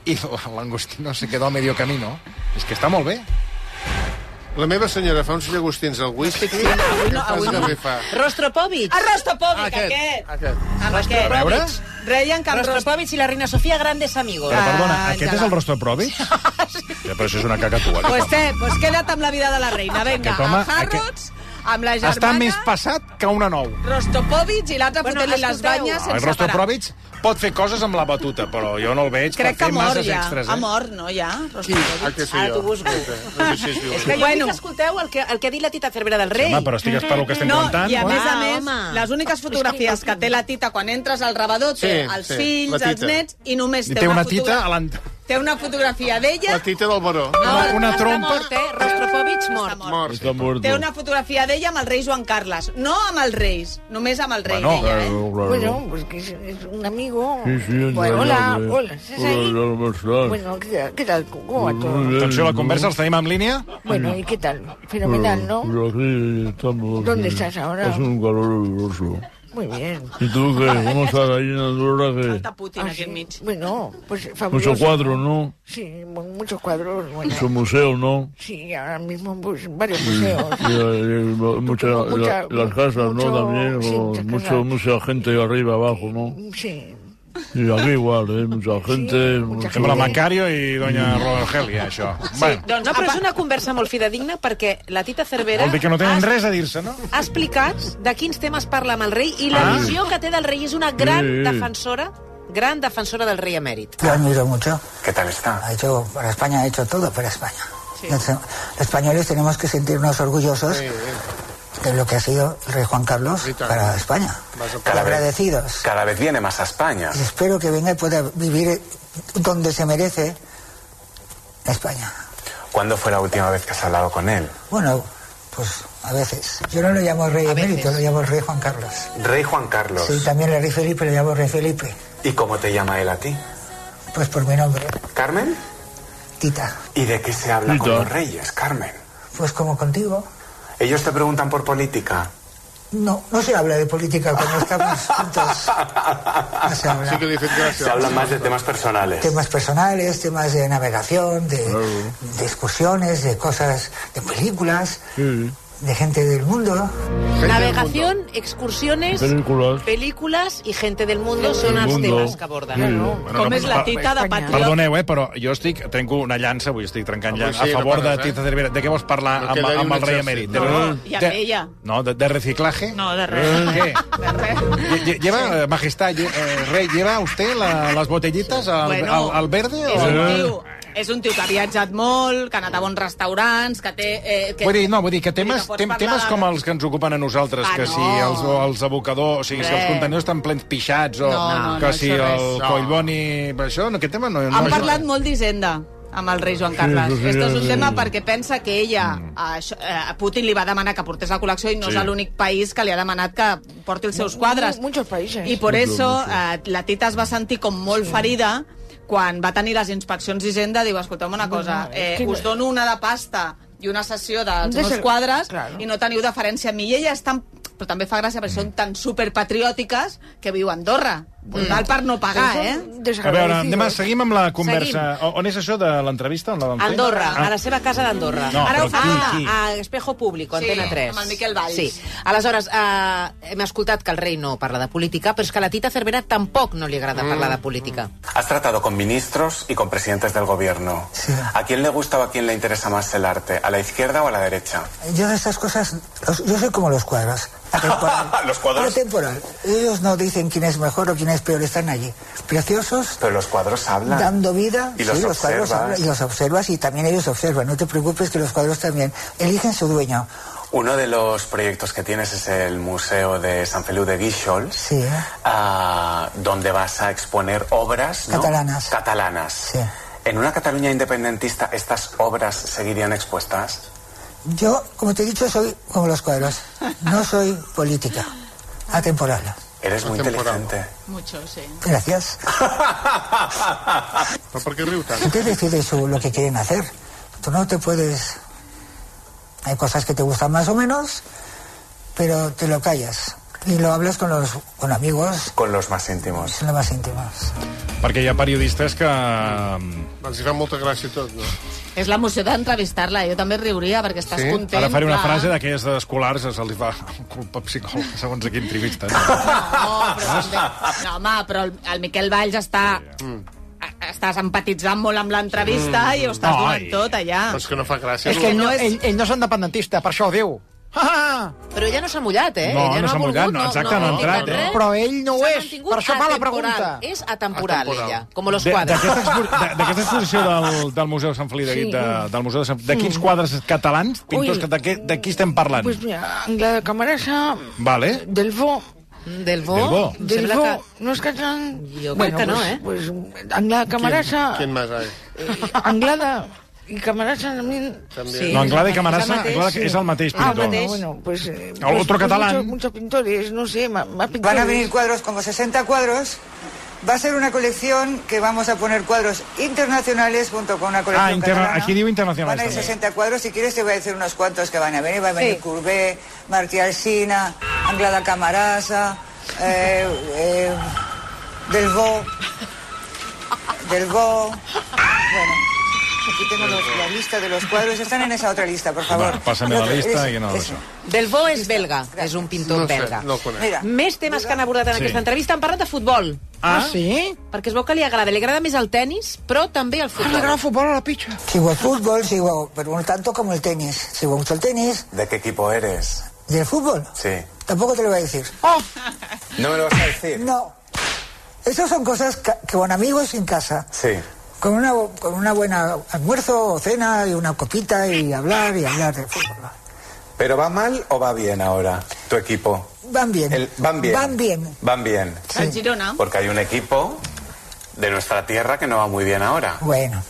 Speaker 1: i el langostino se quedó a medio camino. És que està molt bé.
Speaker 3: La meva senyora fa uns llagostins al whisky. Sí,
Speaker 4: avui no,
Speaker 3: no,
Speaker 4: avui no.
Speaker 3: També fa.
Speaker 2: Rostropovich.
Speaker 4: Arrostopovic,
Speaker 1: Ah,
Speaker 3: Aquest,
Speaker 4: aquest.
Speaker 3: aquest.
Speaker 4: Amb
Speaker 1: A
Speaker 4: aquest.
Speaker 1: veure?
Speaker 4: Reien que amb rost...
Speaker 2: Rostropovich i la reina Sofia, grandes amigos.
Speaker 1: Però, perdona,
Speaker 4: Ah,
Speaker 1: aquest
Speaker 4: ja
Speaker 1: és el
Speaker 4: va.
Speaker 1: rostro propi? Ja, però això és una cacatua.
Speaker 4: Pues, té, pues queda't amb la vida de la reina. Vinga,
Speaker 1: Aquest home,
Speaker 4: a Harrods, amb la germana...
Speaker 1: Està més passat que una nou.
Speaker 4: Rostopovic i l'altre
Speaker 2: Bueno,
Speaker 4: bueno, fotent-li les
Speaker 2: escolteu.
Speaker 4: banyes
Speaker 1: El
Speaker 4: Ah, sense
Speaker 1: Rostro
Speaker 4: parar.
Speaker 1: Provich pot fer coses amb la batuta, però jo no el veig
Speaker 4: Crec
Speaker 1: per
Speaker 4: que ha
Speaker 1: fer
Speaker 4: mort,
Speaker 1: masses
Speaker 4: ja.
Speaker 1: extras.
Speaker 4: Ha
Speaker 1: Eh?
Speaker 4: mort, no, ja?
Speaker 3: Qui?
Speaker 4: Rostropovich.
Speaker 3: Ah, que sé
Speaker 2: Ara
Speaker 3: jo.
Speaker 2: t'ho busco.
Speaker 3: No sé si és
Speaker 2: És que jo
Speaker 3: violent.
Speaker 4: Bueno.
Speaker 2: bueno. que escolteu el que, el que ha dit la Tita Cervera del Rei.
Speaker 1: Home, però estic esperant el que estem
Speaker 4: No,
Speaker 1: contant.
Speaker 4: i a
Speaker 1: no?
Speaker 4: més a
Speaker 2: Ah,
Speaker 4: més,
Speaker 2: home.
Speaker 4: les úniques fotografies que té la tita quan entres al rebador té
Speaker 3: Sí,
Speaker 4: els
Speaker 3: sí,
Speaker 4: fills,
Speaker 3: la
Speaker 4: els
Speaker 3: tita.
Speaker 4: nets, i només
Speaker 1: I
Speaker 4: té,
Speaker 1: té una
Speaker 4: fotogra-
Speaker 1: tita a l'ant...
Speaker 4: Té una fotografia d'ella,
Speaker 3: La tita del baró.
Speaker 1: una- una
Speaker 2: està
Speaker 1: trompa.
Speaker 2: Mort, eh? Rostropovich mort.
Speaker 4: mort.
Speaker 3: Mort. sí.
Speaker 4: Té una fotografia d'ella amb el rei Joan Carles. No amb els reis, només amb el rei
Speaker 1: Bueno,
Speaker 4: d'ella, eh?
Speaker 6: Bueno, pues que es, es un amigo.
Speaker 5: Sí, sí, ens
Speaker 6: bueno, hola,
Speaker 5: veiem, eh?
Speaker 6: hola, ¿estás ahí?
Speaker 5: Hola, ¿cómo estás? Pues
Speaker 6: Bueno, ¿qué tal? ¿Qué tal? ¿Cómo va todo?
Speaker 5: bien.
Speaker 1: Atenció, la conversa els tenim en línia.
Speaker 6: Bueno, ¿y qué tal? Fenomenal, ¿no?
Speaker 5: Pero aquí estamos.
Speaker 6: ¿Dónde estás ahora?
Speaker 5: Hace un calor horroroso.
Speaker 6: Muy bien.
Speaker 5: ¿Y tú qué? ¿Cómo estás ahí en Andorra?
Speaker 4: Està
Speaker 5: Que...
Speaker 4: eh? Putin
Speaker 6: Ah,
Speaker 4: aquí
Speaker 6: sí.
Speaker 4: enmig.
Speaker 6: Bueno, pues fabuloso.
Speaker 5: Mucho cuadro, ¿no?
Speaker 6: Sí, mu- muchos cuadros. Bueno,
Speaker 5: Mucho museo, ¿no?
Speaker 6: sí,
Speaker 2: Ah,
Speaker 6: ahora mismo pues, varios museos.
Speaker 5: Y, eh, mucha-
Speaker 6: Mucha-
Speaker 5: la- las casas,
Speaker 6: mucho-
Speaker 5: ¿no? También,
Speaker 6: sí,
Speaker 5: o
Speaker 6: muchas
Speaker 5: mucho,
Speaker 6: casas.
Speaker 5: mucha gente arriba, abajo, ¿no?
Speaker 6: Sí.
Speaker 5: Y aquí igual, ¿eh? Mucha gente.
Speaker 6: mucha
Speaker 1: Sembla
Speaker 6: Sí.
Speaker 1: Macario i doña Rogelia, això. Sí. Bueno,
Speaker 2: Doncs, no, però és una conversa molt fidedigna perquè la Tita Cervera
Speaker 1: vol dir que no
Speaker 4: Ah,
Speaker 1: tenen
Speaker 2: ha,
Speaker 1: res a dir-se, no?
Speaker 2: ha explicat de quins temes parla amb el rei i la
Speaker 1: Ah.
Speaker 2: visió que té del rei és una gran
Speaker 5: Sí.
Speaker 2: defensora, gran defensora del rei emèrit.
Speaker 9: Lo admiro mucho.
Speaker 8: ¿Qué tal está?
Speaker 9: Ha hecho, para España ha hecho todo para España. Entonces, Los españoles tenemos que sentirnos orgullosos
Speaker 3: Sí, sí.
Speaker 9: de lo que ha sido el rey Juan Carlos
Speaker 3: Sí, claro.
Speaker 9: para España.
Speaker 3: Vas a
Speaker 9: Para pues agradecidos.
Speaker 8: Cada vez viene más a España.
Speaker 9: Y espero que venga y pueda vivir donde se merece España.
Speaker 8: ¿Cuándo fue la última vez que has hablado con él?
Speaker 9: Bueno, pues a veces. Yo no lo llamo rey emérito, lo llamo rey Juan Carlos.
Speaker 8: Rey Juan Carlos.
Speaker 9: Sí, también el rey Felipe lo llamo rey Felipe.
Speaker 8: ¿Y cómo te llama él a ti?
Speaker 9: Pues por mi nombre,
Speaker 8: ¿Carmen?
Speaker 9: Tita.
Speaker 8: ¿Y de qué se habla con
Speaker 5: Tito.
Speaker 8: los reyes, Carmen?
Speaker 9: Pues como contigo.
Speaker 8: Ellos te preguntan por política.
Speaker 9: No, no se habla de política cuando estamos juntos. No se habla.
Speaker 3: Sí que li he fet
Speaker 8: Se
Speaker 3: gràcia.
Speaker 8: hablan más de temas personales.
Speaker 9: Temas personales, temas de navegación, de de discusiones, de cosas, de películas,
Speaker 5: Sí,
Speaker 9: de gente del mundo.
Speaker 2: Navegación, excursiones,
Speaker 5: películas.
Speaker 2: películas i gente del mundo són els
Speaker 5: mundo.
Speaker 2: temes que aborden.
Speaker 1: Bueno,
Speaker 4: Com
Speaker 1: no,
Speaker 4: és
Speaker 1: pa-
Speaker 4: la tita de patriota?
Speaker 1: Perdoneu, eh, però jo estic, trenco una llança, avui estic trencant
Speaker 3: Avui
Speaker 1: llança,
Speaker 3: sí,
Speaker 1: a
Speaker 3: no
Speaker 1: favor de
Speaker 3: pares, eh?
Speaker 1: Tita Cervera. De què vols parlar
Speaker 3: No
Speaker 1: amb,
Speaker 3: queda ni
Speaker 1: amb
Speaker 3: un
Speaker 1: el rei
Speaker 3: exèrcit.
Speaker 1: emèrit?
Speaker 4: No, i amb
Speaker 1: de,
Speaker 4: ella.
Speaker 1: No, de, de reciclaje? Eh,
Speaker 4: No, de res.
Speaker 1: Què?
Speaker 4: De res.
Speaker 1: Lle- lle- Lleva, eh, majestad, lle- eh, rei, lleva usted la, las botellitas al,
Speaker 4: Bueno,
Speaker 1: al, al verde?
Speaker 4: És
Speaker 1: o...
Speaker 4: un tio, és un tio que ha viatjat molt, que ha anat a bons restaurants, que té... Eh, que...
Speaker 1: Vull dir, no, vull dir que temes,
Speaker 4: pots
Speaker 1: tem,
Speaker 4: parlar
Speaker 1: temes
Speaker 4: de-
Speaker 1: com els que ens ocupen a nosaltres,
Speaker 4: Ah,
Speaker 1: que
Speaker 4: no.
Speaker 1: si els, o els abocadors, o sigui, si
Speaker 4: Res.
Speaker 1: els contenidors estan plens pixats, o
Speaker 4: No, no,
Speaker 1: que
Speaker 4: no,
Speaker 1: si
Speaker 4: això res.
Speaker 1: el
Speaker 3: No.
Speaker 1: collboni... Això, no, aquest tema no... no
Speaker 4: Han
Speaker 1: és-
Speaker 4: parlat molt d'Hisenda amb el rei Joan Carles.
Speaker 5: sí,
Speaker 4: Sí, Esto és un
Speaker 5: sí. Mm.
Speaker 4: tema perquè pensa que ella, a, això- eh, a Putin li va demanar que portés la col·lecció i no és l'únic país que li ha demanat que porti els seus quadres.
Speaker 6: Muchos países.
Speaker 4: I per això eh, la Tita es va sentir com molt ferida quan va tenir les inspeccions d'Hisenda. Diu, escolteu una cosa, eh, us dono una de pasta i una sessió dels
Speaker 6: De
Speaker 4: meus
Speaker 6: ser-
Speaker 4: quadres
Speaker 6: Claro.
Speaker 4: i no teniu deferència a mi. I ella és tan... Però també fa gràcia
Speaker 5: Mm.
Speaker 4: perquè són tan superpatriòtiques que viu a Andorra. Mm. Val per no pagar, eh?
Speaker 1: A veure, anem a, seguim amb la conversa. O- On és això de l'entrevista? On la vam fer?
Speaker 2: Andorra,
Speaker 1: Ah.
Speaker 2: a la seva casa d'Andorra.
Speaker 1: No,
Speaker 2: Ara
Speaker 1: però
Speaker 2: ho fa
Speaker 1: qui, qui?
Speaker 2: a Espejo Público,
Speaker 4: Sí,
Speaker 2: Antena 3.
Speaker 4: amb el Miquel Valls.
Speaker 2: Sí. Aleshores, eh, hem escoltat que el rei no parla de política, però és que a la Tita Cervera tampoc no li agrada parlar de política.
Speaker 8: Has tratado con ministros y con presidentes del gobierno.
Speaker 9: Sí.
Speaker 8: ¿A quién le gusta o a quién le interesa más el arte? ¿A la izquierda o a la derecha?
Speaker 9: Yo de estas cosas, los- yo soy como los cuadros. atemporal.
Speaker 8: Los cuadros.
Speaker 9: Atemporal. Ellos no dicen quién es mejor o quién es es peor, están allí. Preciosos,
Speaker 8: Pero los cuadros hablan.
Speaker 9: dando vida.
Speaker 8: Y los
Speaker 9: sí, los cuadros
Speaker 8: observas.
Speaker 9: hablan y los observas y también ellos observan. No te preocupes que los cuadros también eligen su dueño.
Speaker 8: Uno de los proyectos que tienes es el Museo de San Feliu de Guíxols,
Speaker 9: Sí.
Speaker 8: ah, donde vas a exponer obras ¿no?
Speaker 9: Catalanas.
Speaker 8: Catalanas.
Speaker 9: Sí.
Speaker 8: En una Cataluña independentista, ¿estas obras seguirían expuestas?
Speaker 9: Yo, como te he dicho, soy como los cuadros. No soy política, atemporal.
Speaker 8: Eres muy
Speaker 3: Atemporal.
Speaker 8: inteligente.
Speaker 4: Mucho, sí.
Speaker 9: Gracias.
Speaker 3: Però per què riu tant?
Speaker 9: Usted decide su- lo que quieren hacer. Tú no te puedes... Hay cosas que te gustan más o menos, pero te lo callas. Y lo hablas con los con amigos,
Speaker 8: Con los más íntimos.
Speaker 9: son los más íntimos.
Speaker 1: Perquè hi ha periodistes que... mm,
Speaker 3: Els hi fa molta gràcia tot, no?
Speaker 4: És l'emoció d'entrevistar-la. Jo també riuria perquè estàs
Speaker 3: Sí?
Speaker 4: content.
Speaker 1: Ara faré una
Speaker 4: clar.
Speaker 1: frase d'aquelles d'escolars, se li fa culpa psicòloga, segons a qui entrevisten.
Speaker 4: No, però també... no, home, però el, el Miquel Valls està...
Speaker 1: Mm.
Speaker 4: a- Estàs empatitzant molt amb l'entrevista i ho estàs
Speaker 1: Ai.
Speaker 4: donant tot allà.
Speaker 3: Però és que no fa gràcia.
Speaker 7: És que ell
Speaker 4: no
Speaker 7: no,
Speaker 4: és-
Speaker 7: ell, ell no és independentista, per això ho diu. Ha, ha.
Speaker 2: Però ella no s'ha mullat, eh?
Speaker 1: No,
Speaker 2: ella
Speaker 1: no s'ha
Speaker 2: volgut,
Speaker 1: mullat, no, exacte, no ha
Speaker 2: dit
Speaker 1: entrat,
Speaker 2: res.
Speaker 1: eh?
Speaker 7: Però ell no ho
Speaker 2: S'ha
Speaker 7: és,
Speaker 2: mantingut
Speaker 7: per això fa la
Speaker 2: atemporal.
Speaker 7: pregunta.
Speaker 2: És atemporal,
Speaker 3: Atemporal.
Speaker 2: ella, com los
Speaker 1: De-
Speaker 2: quadres.
Speaker 1: D'aquesta expo- de- d'aquesta exposició del, del Museu Sant Feliu de, sí. de, del Museu de, Sant, de quins quadres catalans, pintors, que- de, què- de qui estem parlant?
Speaker 6: Pues mira, Anglada Camarasa,
Speaker 1: Vale.
Speaker 6: Delvó,
Speaker 2: Del bo,
Speaker 1: Del bo.
Speaker 2: em sembla
Speaker 6: Delvó,
Speaker 2: que...
Speaker 6: no és catalán.
Speaker 2: Jo crec que no, eh?
Speaker 6: pues, pues Anglada Camarasa,
Speaker 3: Quin més hi ha?
Speaker 6: eh, Anglada y Camarasa también.
Speaker 3: També.
Speaker 2: Sí.
Speaker 1: No, Anglada i
Speaker 2: és el
Speaker 1: Camarasa,
Speaker 2: mateix,
Speaker 1: Anglada
Speaker 2: sí.
Speaker 1: és el mateix
Speaker 6: Ah,
Speaker 1: pintor.
Speaker 6: bueno, bueno, pues... eh,
Speaker 1: Al
Speaker 6: pues-
Speaker 1: otro
Speaker 6: pues
Speaker 1: catalán.
Speaker 6: Muchos, muchos pintores, no sé, más, más pintores.
Speaker 9: Van a venir cuadros como 60 cuadros. Va a ser una colección que vamos a poner cuadros internacionales junto con una colección
Speaker 1: Ah, interna-
Speaker 9: catalana.
Speaker 1: aquí digo internacionales
Speaker 9: Van a ir
Speaker 1: también.
Speaker 9: 60 cuadros. Si quieres te voy a decir unos cuantos que van a venir. Va a venir Courbet, Martí Alsina, Anglada Camarasa, eh, eh, Delvaux, Delvaux. Bueno, aquí tengo los- la lista de los cuadros. Están en esa otra lista, por favor.
Speaker 1: Bueno, pásame la
Speaker 9: Otra-
Speaker 1: lista
Speaker 9: esa-
Speaker 1: i no
Speaker 9: esa.
Speaker 1: d'això.
Speaker 2: Del bo és belga, és un pintor
Speaker 3: No sé,
Speaker 2: belga.
Speaker 3: no el conec.
Speaker 9: Mira.
Speaker 2: Més temes que han abordat en
Speaker 1: Sí.
Speaker 2: aquesta entrevista. Han parlat de futbol,
Speaker 7: Ah, sí?
Speaker 2: perquè es veu que li agrada. Li agrada més el tennis, però també el
Speaker 7: Ah, li
Speaker 2: futbol.
Speaker 7: agrada el futbol a la pitxa.
Speaker 9: Sigo el fútbol, sigo, pero no tanto como el tenis. Sigo mucho el tenis
Speaker 8: ¿De qué equipo eres?
Speaker 9: y el fútbol.
Speaker 8: Sí.
Speaker 9: Tampoco te lo voy a decir.
Speaker 8: ¿No me lo vas a decir?
Speaker 9: No. Esas son cosas ca- que con amigos en casa,
Speaker 8: Sí.
Speaker 9: con una, bu- con una buena almuerzo o cena y una copita y hablar y hablar de fútbol.
Speaker 8: ¿Pero va mal o va bien ahora tu equipo?
Speaker 9: Van bien.
Speaker 8: El- van bien.
Speaker 9: Van bien.
Speaker 8: Van bien.
Speaker 4: El Girona.
Speaker 8: Porque hay un equipo de nuestra tierra que no va muy bien ahora.
Speaker 9: Bueno,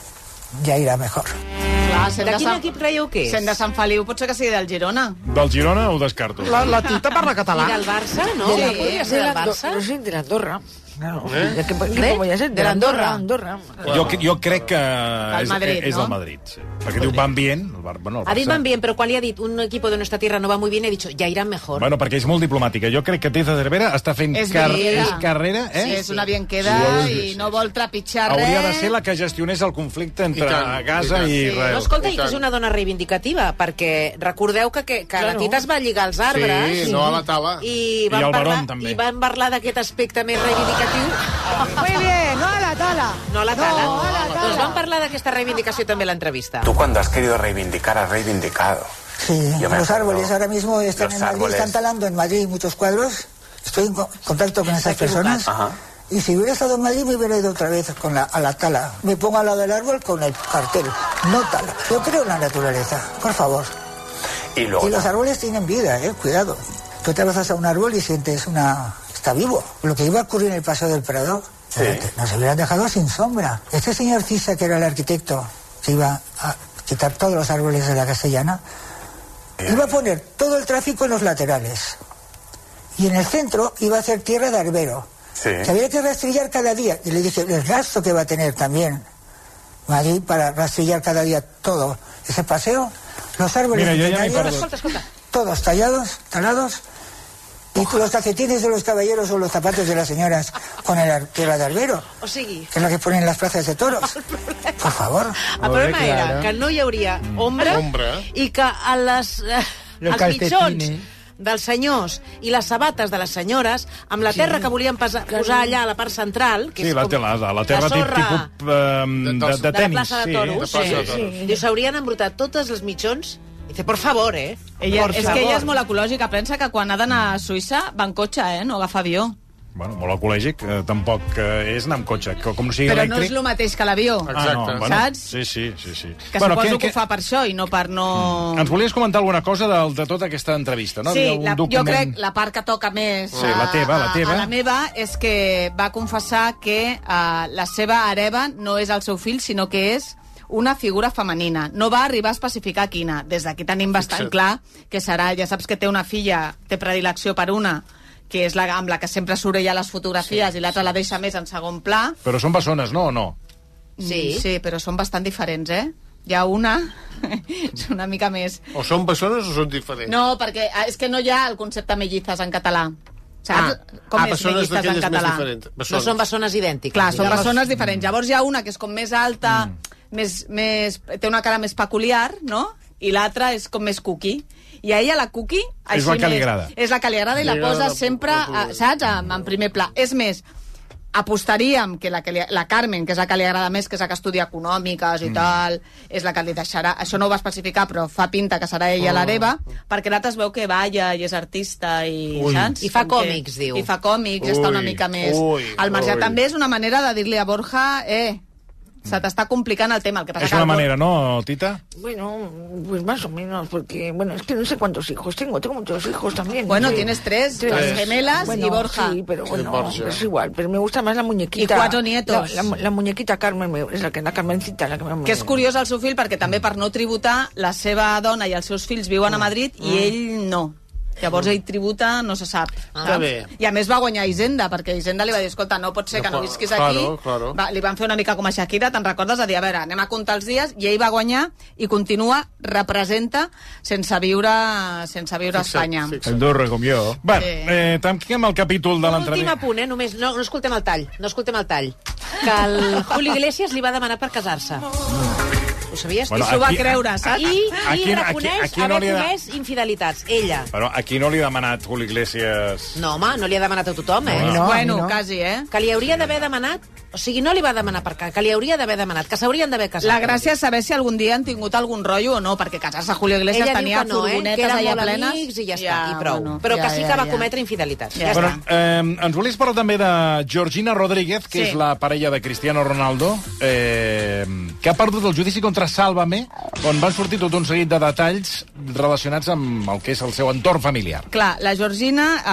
Speaker 9: ya irá mejor.
Speaker 4: Clar, sent
Speaker 2: De
Speaker 4: de,
Speaker 2: quin
Speaker 4: Sant...
Speaker 2: equip creieu que
Speaker 4: sent de
Speaker 2: és?
Speaker 4: Sant Feliu potser que sigui del Girona.
Speaker 1: Del Girona ho descarto.
Speaker 7: La, la Tita parla
Speaker 2: I
Speaker 7: català.
Speaker 2: del Barça, no?
Speaker 4: Sí.
Speaker 2: Sí. Podria
Speaker 6: De
Speaker 2: ser del
Speaker 6: la-
Speaker 2: Barça?
Speaker 6: Yo soy de la Andorra. Claro.
Speaker 3: ¿Eh?
Speaker 6: ¿De qué, qué
Speaker 2: ¿De?
Speaker 6: voy a ser?
Speaker 2: De la Andorra.
Speaker 6: Andorra.
Speaker 1: Jo, jo crec que és,
Speaker 4: Madrid,
Speaker 1: és
Speaker 4: no?
Speaker 1: del Madrid, sí. Perquè diu van bien, el, Bar bueno, el Barça.
Speaker 2: Ha dit van bien, però quan li ha dit un equip de nuestra tierra no va muy bien, he dicho, ya irán mejor.
Speaker 1: Bueno, perquè és molt diplomàtica. Jo crec que Tiza Cervera està fent
Speaker 4: És
Speaker 1: car
Speaker 4: bienqueda.
Speaker 1: és carrera, eh?
Speaker 4: Sí, és una bienqueda
Speaker 1: Sí, sí,
Speaker 4: i
Speaker 1: sí,
Speaker 4: no
Speaker 1: sí.
Speaker 4: vol trepitjar res.
Speaker 1: Hauria de ser la que gestionés el conflicte entre
Speaker 3: I tant,
Speaker 1: Gaza
Speaker 3: i tant.
Speaker 1: i
Speaker 3: Sí,
Speaker 1: Israel.
Speaker 2: No, escolta,
Speaker 3: I
Speaker 2: i que és
Speaker 3: tant.
Speaker 2: una dona reivindicativa, perquè recordeu que, que, que la Tita es va lligar als arbres...
Speaker 3: Sí, no a la tala.
Speaker 2: I,
Speaker 1: I
Speaker 2: van
Speaker 1: al
Speaker 2: parlar,
Speaker 1: Barón, també.
Speaker 2: I van parlar d'aquest aspecte més reivindicatiu.
Speaker 4: Muy bien, no a la tala.
Speaker 2: No a la tala. No, a la tala. Doncs van parlar d'aquesta reivindicació també a l'entrevista.
Speaker 8: Tú cuando has querido reivindicar, has reivindicado.
Speaker 9: Sí,
Speaker 8: Yo me
Speaker 9: los
Speaker 8: acuerdo.
Speaker 9: árboles ahora mismo están
Speaker 8: Los
Speaker 9: en Madrid,
Speaker 8: árboles.
Speaker 9: están talando en Madrid muchos cuadros. Estoy en co- contacto con esas personas.
Speaker 8: Ajá.
Speaker 9: Y si hubiera estado en Madrid me hubiera ido otra vez con la, a la tala. Me pongo al lado del árbol con el cartel. No tala. Yo creo en la naturaleza, por favor.
Speaker 8: Y luego...
Speaker 9: Y los árboles tienen vida, eh, cuidado. Tú te abrazas a un árbol y sientes una... está vivo. Lo que iba a ocurrir en el Paseo del Prado, eh,
Speaker 8: Sí.
Speaker 9: nos hubieran dejado sin sombra. Este señor Cisa, que era el arquitecto, que iba a quitar todos los árboles de la castellana, iba a poner todo el tráfico en los laterales. Y en el centro iba a hacer tierra de arbero.
Speaker 8: Sí.
Speaker 9: Que había que rastrillar cada día. Y le dije, el gasto que va a tener también Madrid para rastrillar cada día todo ese paseo, los árboles
Speaker 1: Mira, yo ya me
Speaker 9: centenarios,
Speaker 1: acuerdo.
Speaker 2: Escolta, escolta.
Speaker 9: todos tallados, talados, y con los calcetines de los caballeros o los zapatos de las señoras con el ar- tierra de arbero,
Speaker 2: O sigui,
Speaker 9: que es lo que ponen en las plazas de toros. Por favor.
Speaker 2: el problema era que no hi hauria ombra,
Speaker 3: Ombra.
Speaker 2: i que a les, eh,
Speaker 7: Los
Speaker 2: els mitjons
Speaker 7: calcetines.
Speaker 2: dels senyors i les sabates de les senyores, amb la terra que volien pasa, posar allà a la part central, que
Speaker 1: Sí,
Speaker 2: és
Speaker 1: la,
Speaker 2: com
Speaker 1: la, la, la terra tip,
Speaker 2: sorra
Speaker 1: tipus um, de, de, de
Speaker 2: de la
Speaker 1: tenis.
Speaker 2: plaça de Toros,
Speaker 3: de plaça de
Speaker 2: sí.
Speaker 3: Toros.
Speaker 2: sí. Diu, s'haurien embrutat totes les mitjons. Dice, por favor, eh?
Speaker 4: Ella,
Speaker 2: por
Speaker 4: és que ella és molt ecològica. Pensa que quan ha d'anar a Suïssa va en cotxe, eh? No agafa avió.
Speaker 1: bueno, molt ecològic, eh, tampoc eh, és anar amb cotxe. que Com sigui
Speaker 4: Però no és
Speaker 1: elèctric...
Speaker 4: el mateix que l'avió,
Speaker 1: Ah,
Speaker 3: Ah,
Speaker 1: no,
Speaker 3: Exacte.
Speaker 1: bueno,
Speaker 4: Saps?
Speaker 1: Sí, sí, sí. sí.
Speaker 4: que suposo que, ho fa per això i no per no...
Speaker 1: Ens volies comentar alguna cosa de, de tota aquesta entrevista, no? Hi
Speaker 4: Sí,
Speaker 1: ha un
Speaker 4: la, jo
Speaker 1: document-
Speaker 4: crec la part que toca més
Speaker 1: Sí, la teva, la teva.
Speaker 4: A, a la meva és que va confessar que uh, la seva hereva no és el seu fill, sinó que és una figura femenina. No va arribar a especificar quina. Des d'aquí tenim bastant
Speaker 3: Fixa't.
Speaker 4: clar que serà... Ja saps que té una filla, té predilecció per una, que és la amb la que sempre surt ella a les fotografies sí, i l'altra la deixa més en segon pla.
Speaker 1: Però són bessones, no o no?
Speaker 2: Sí.
Speaker 4: Mm, sí, però són bastant diferents, eh? Hi ha una... és una mica més...
Speaker 3: O són bessones o són diferents?
Speaker 4: No, perquè ah, és que no hi ha el concepte mellizas en català. Saps? Com
Speaker 3: ah,
Speaker 4: és
Speaker 3: bessones
Speaker 4: mellizas en
Speaker 3: d'aquelles més
Speaker 4: català?
Speaker 3: diferents.
Speaker 2: No són bessones idèntiques.
Speaker 4: Clar, són
Speaker 2: diguem.
Speaker 4: persones diferents. Llavors hi ha una que és com més alta, més, més, té una cara més peculiar, no? I l'altra és com més cookie. I a ella la cookie...
Speaker 1: És
Speaker 4: així
Speaker 1: la que li
Speaker 4: més-
Speaker 1: agrada.
Speaker 4: És la que li agrada i la
Speaker 3: Li agrada
Speaker 4: posa
Speaker 3: la-
Speaker 4: sempre,
Speaker 3: la-
Speaker 4: a, saps, en, en primer pla. És més, apostaríem que la, que li, la Carmen, que és la que li agrada més, que és la que estudia econòmiques i tal, és la que li deixarà... Això no ho va especificar, però fa pinta que serà ella l'hereva, perquè l'altra es veu que balla i és artista i...
Speaker 3: Ui.
Speaker 4: Saps?
Speaker 2: I fa
Speaker 4: Com que-
Speaker 2: còmics, diu.
Speaker 4: I fa còmics, està una
Speaker 3: Ui,
Speaker 4: mica més...
Speaker 3: ui,
Speaker 4: al marge
Speaker 3: ui.
Speaker 4: també és una manera de dir-li a Borja, eh, se t'està complicant el tema. El que passa
Speaker 1: Mm. És
Speaker 4: que
Speaker 1: una
Speaker 4: el Bor-
Speaker 1: manera, no, Tita?
Speaker 6: Bueno, pues más o menos, porque, bueno, es que no sé cuántos hijos tengo, tengo muchos hijos también.
Speaker 4: Bueno,
Speaker 6: Sí.
Speaker 4: tienes tres,
Speaker 6: Tres.
Speaker 4: las gemelas
Speaker 6: Bueno,
Speaker 4: y Borja.
Speaker 6: Sí, pero bueno,
Speaker 3: Borja.
Speaker 6: es igual, pero me gusta más la muñequita.
Speaker 4: Y cuatro nietos.
Speaker 6: La, la- la muñequita Carmen, me- es la que la Carmencita, la que me...
Speaker 4: Que és curiós el seu fill perquè també per no tributar la seva dona i els seus fills viuen a Madrid i ell no. Llavors ell tributa, no se sap.
Speaker 3: Està bé.
Speaker 4: I a més va guanyar Hisenda, perquè Hisenda li va dir, escolta, no pot ser que no
Speaker 3: No,
Speaker 4: visquis aquí.
Speaker 3: claro, claro.
Speaker 4: Va, li van fer una mica com a Shakira, te'n recordes? A dir, a veure, anem a comptar els dies, i ell va guanyar i continua, representa, sense viure, sense viurre a
Speaker 3: Fixa't,
Speaker 4: Espanya.
Speaker 3: fixa't.
Speaker 5: El Durre, com jo.
Speaker 1: Bé,
Speaker 4: Sí.
Speaker 1: eh, tanquem el capítol de
Speaker 2: Un últim
Speaker 1: l'entrevista.
Speaker 2: apunt, eh? Només, no, no escoltem el tall, no escoltem el tall. Que el Julio Iglesias li va demanar per casar-se. Ho sabies?
Speaker 1: Bueno,
Speaker 4: I s'ho va
Speaker 1: aquí-
Speaker 4: creure, saps?
Speaker 2: I, i
Speaker 1: aquí-
Speaker 2: reconeix
Speaker 1: aquí- aquí no
Speaker 2: haver
Speaker 1: li ha-
Speaker 2: comès infidelitats. Ella.
Speaker 1: Però aquí no li ha demanat Julio Iglesias...
Speaker 2: No, home, no li ha demanat a tothom, eh?
Speaker 7: No, a mi
Speaker 4: bueno,
Speaker 7: no.
Speaker 4: quasi, eh?
Speaker 2: Que li hauria d'haver demanat... O sigui, no li va demanar per casar, que li hauria d'haver demanat, que s'haurien d'haver casat.
Speaker 4: La gràcia és saber si algun dia han tingut algun rotllo o no, perquè casar-se a Julio Iglesias
Speaker 2: Ella
Speaker 4: tenia
Speaker 2: tenia diu que no, eh? Que
Speaker 4: furgonetes
Speaker 2: eren
Speaker 4: allà
Speaker 2: molt
Speaker 4: plenes.
Speaker 2: amics i ja està, i prou. Però
Speaker 4: ja,
Speaker 2: que sí
Speaker 4: ja,
Speaker 2: que va
Speaker 4: ja.
Speaker 2: cometre infidelitats.
Speaker 4: Ja
Speaker 2: Ja,
Speaker 1: Bueno,
Speaker 2: està.
Speaker 1: eh, ens volies parlar també de Georgina Rodríguez, que
Speaker 4: Sí.
Speaker 1: és la parella de Cristiano Ronaldo, eh, que ha perdut el judici contra Sálvame, on van sortir tot un seguit de detalls relacionats amb el que és el seu entorn familiar.
Speaker 4: Clar, la Georgina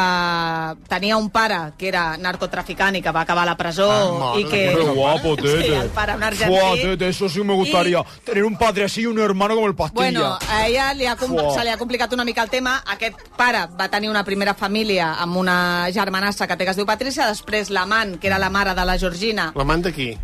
Speaker 4: eh, tenia un pare que era narcotraficant i que va acabar a la presó
Speaker 3: Ah, mare
Speaker 4: i
Speaker 3: de
Speaker 4: que...
Speaker 3: Déu.
Speaker 5: Qué guapo, tete.
Speaker 4: Sí, el para un argentí.
Speaker 5: Fua, tete, eso sí me gustaría. Tener un padre así y un hermano como el pastilla.
Speaker 4: Bueno, a ella li ha, com-
Speaker 5: Fuà.
Speaker 4: se li ha complicat una mica el tema. Aquest pare va tenir una primera família amb una germanassa que té que es diu Patricia, després l'amant, que era la mare de la Georgina,
Speaker 3: L'amant d'aquí.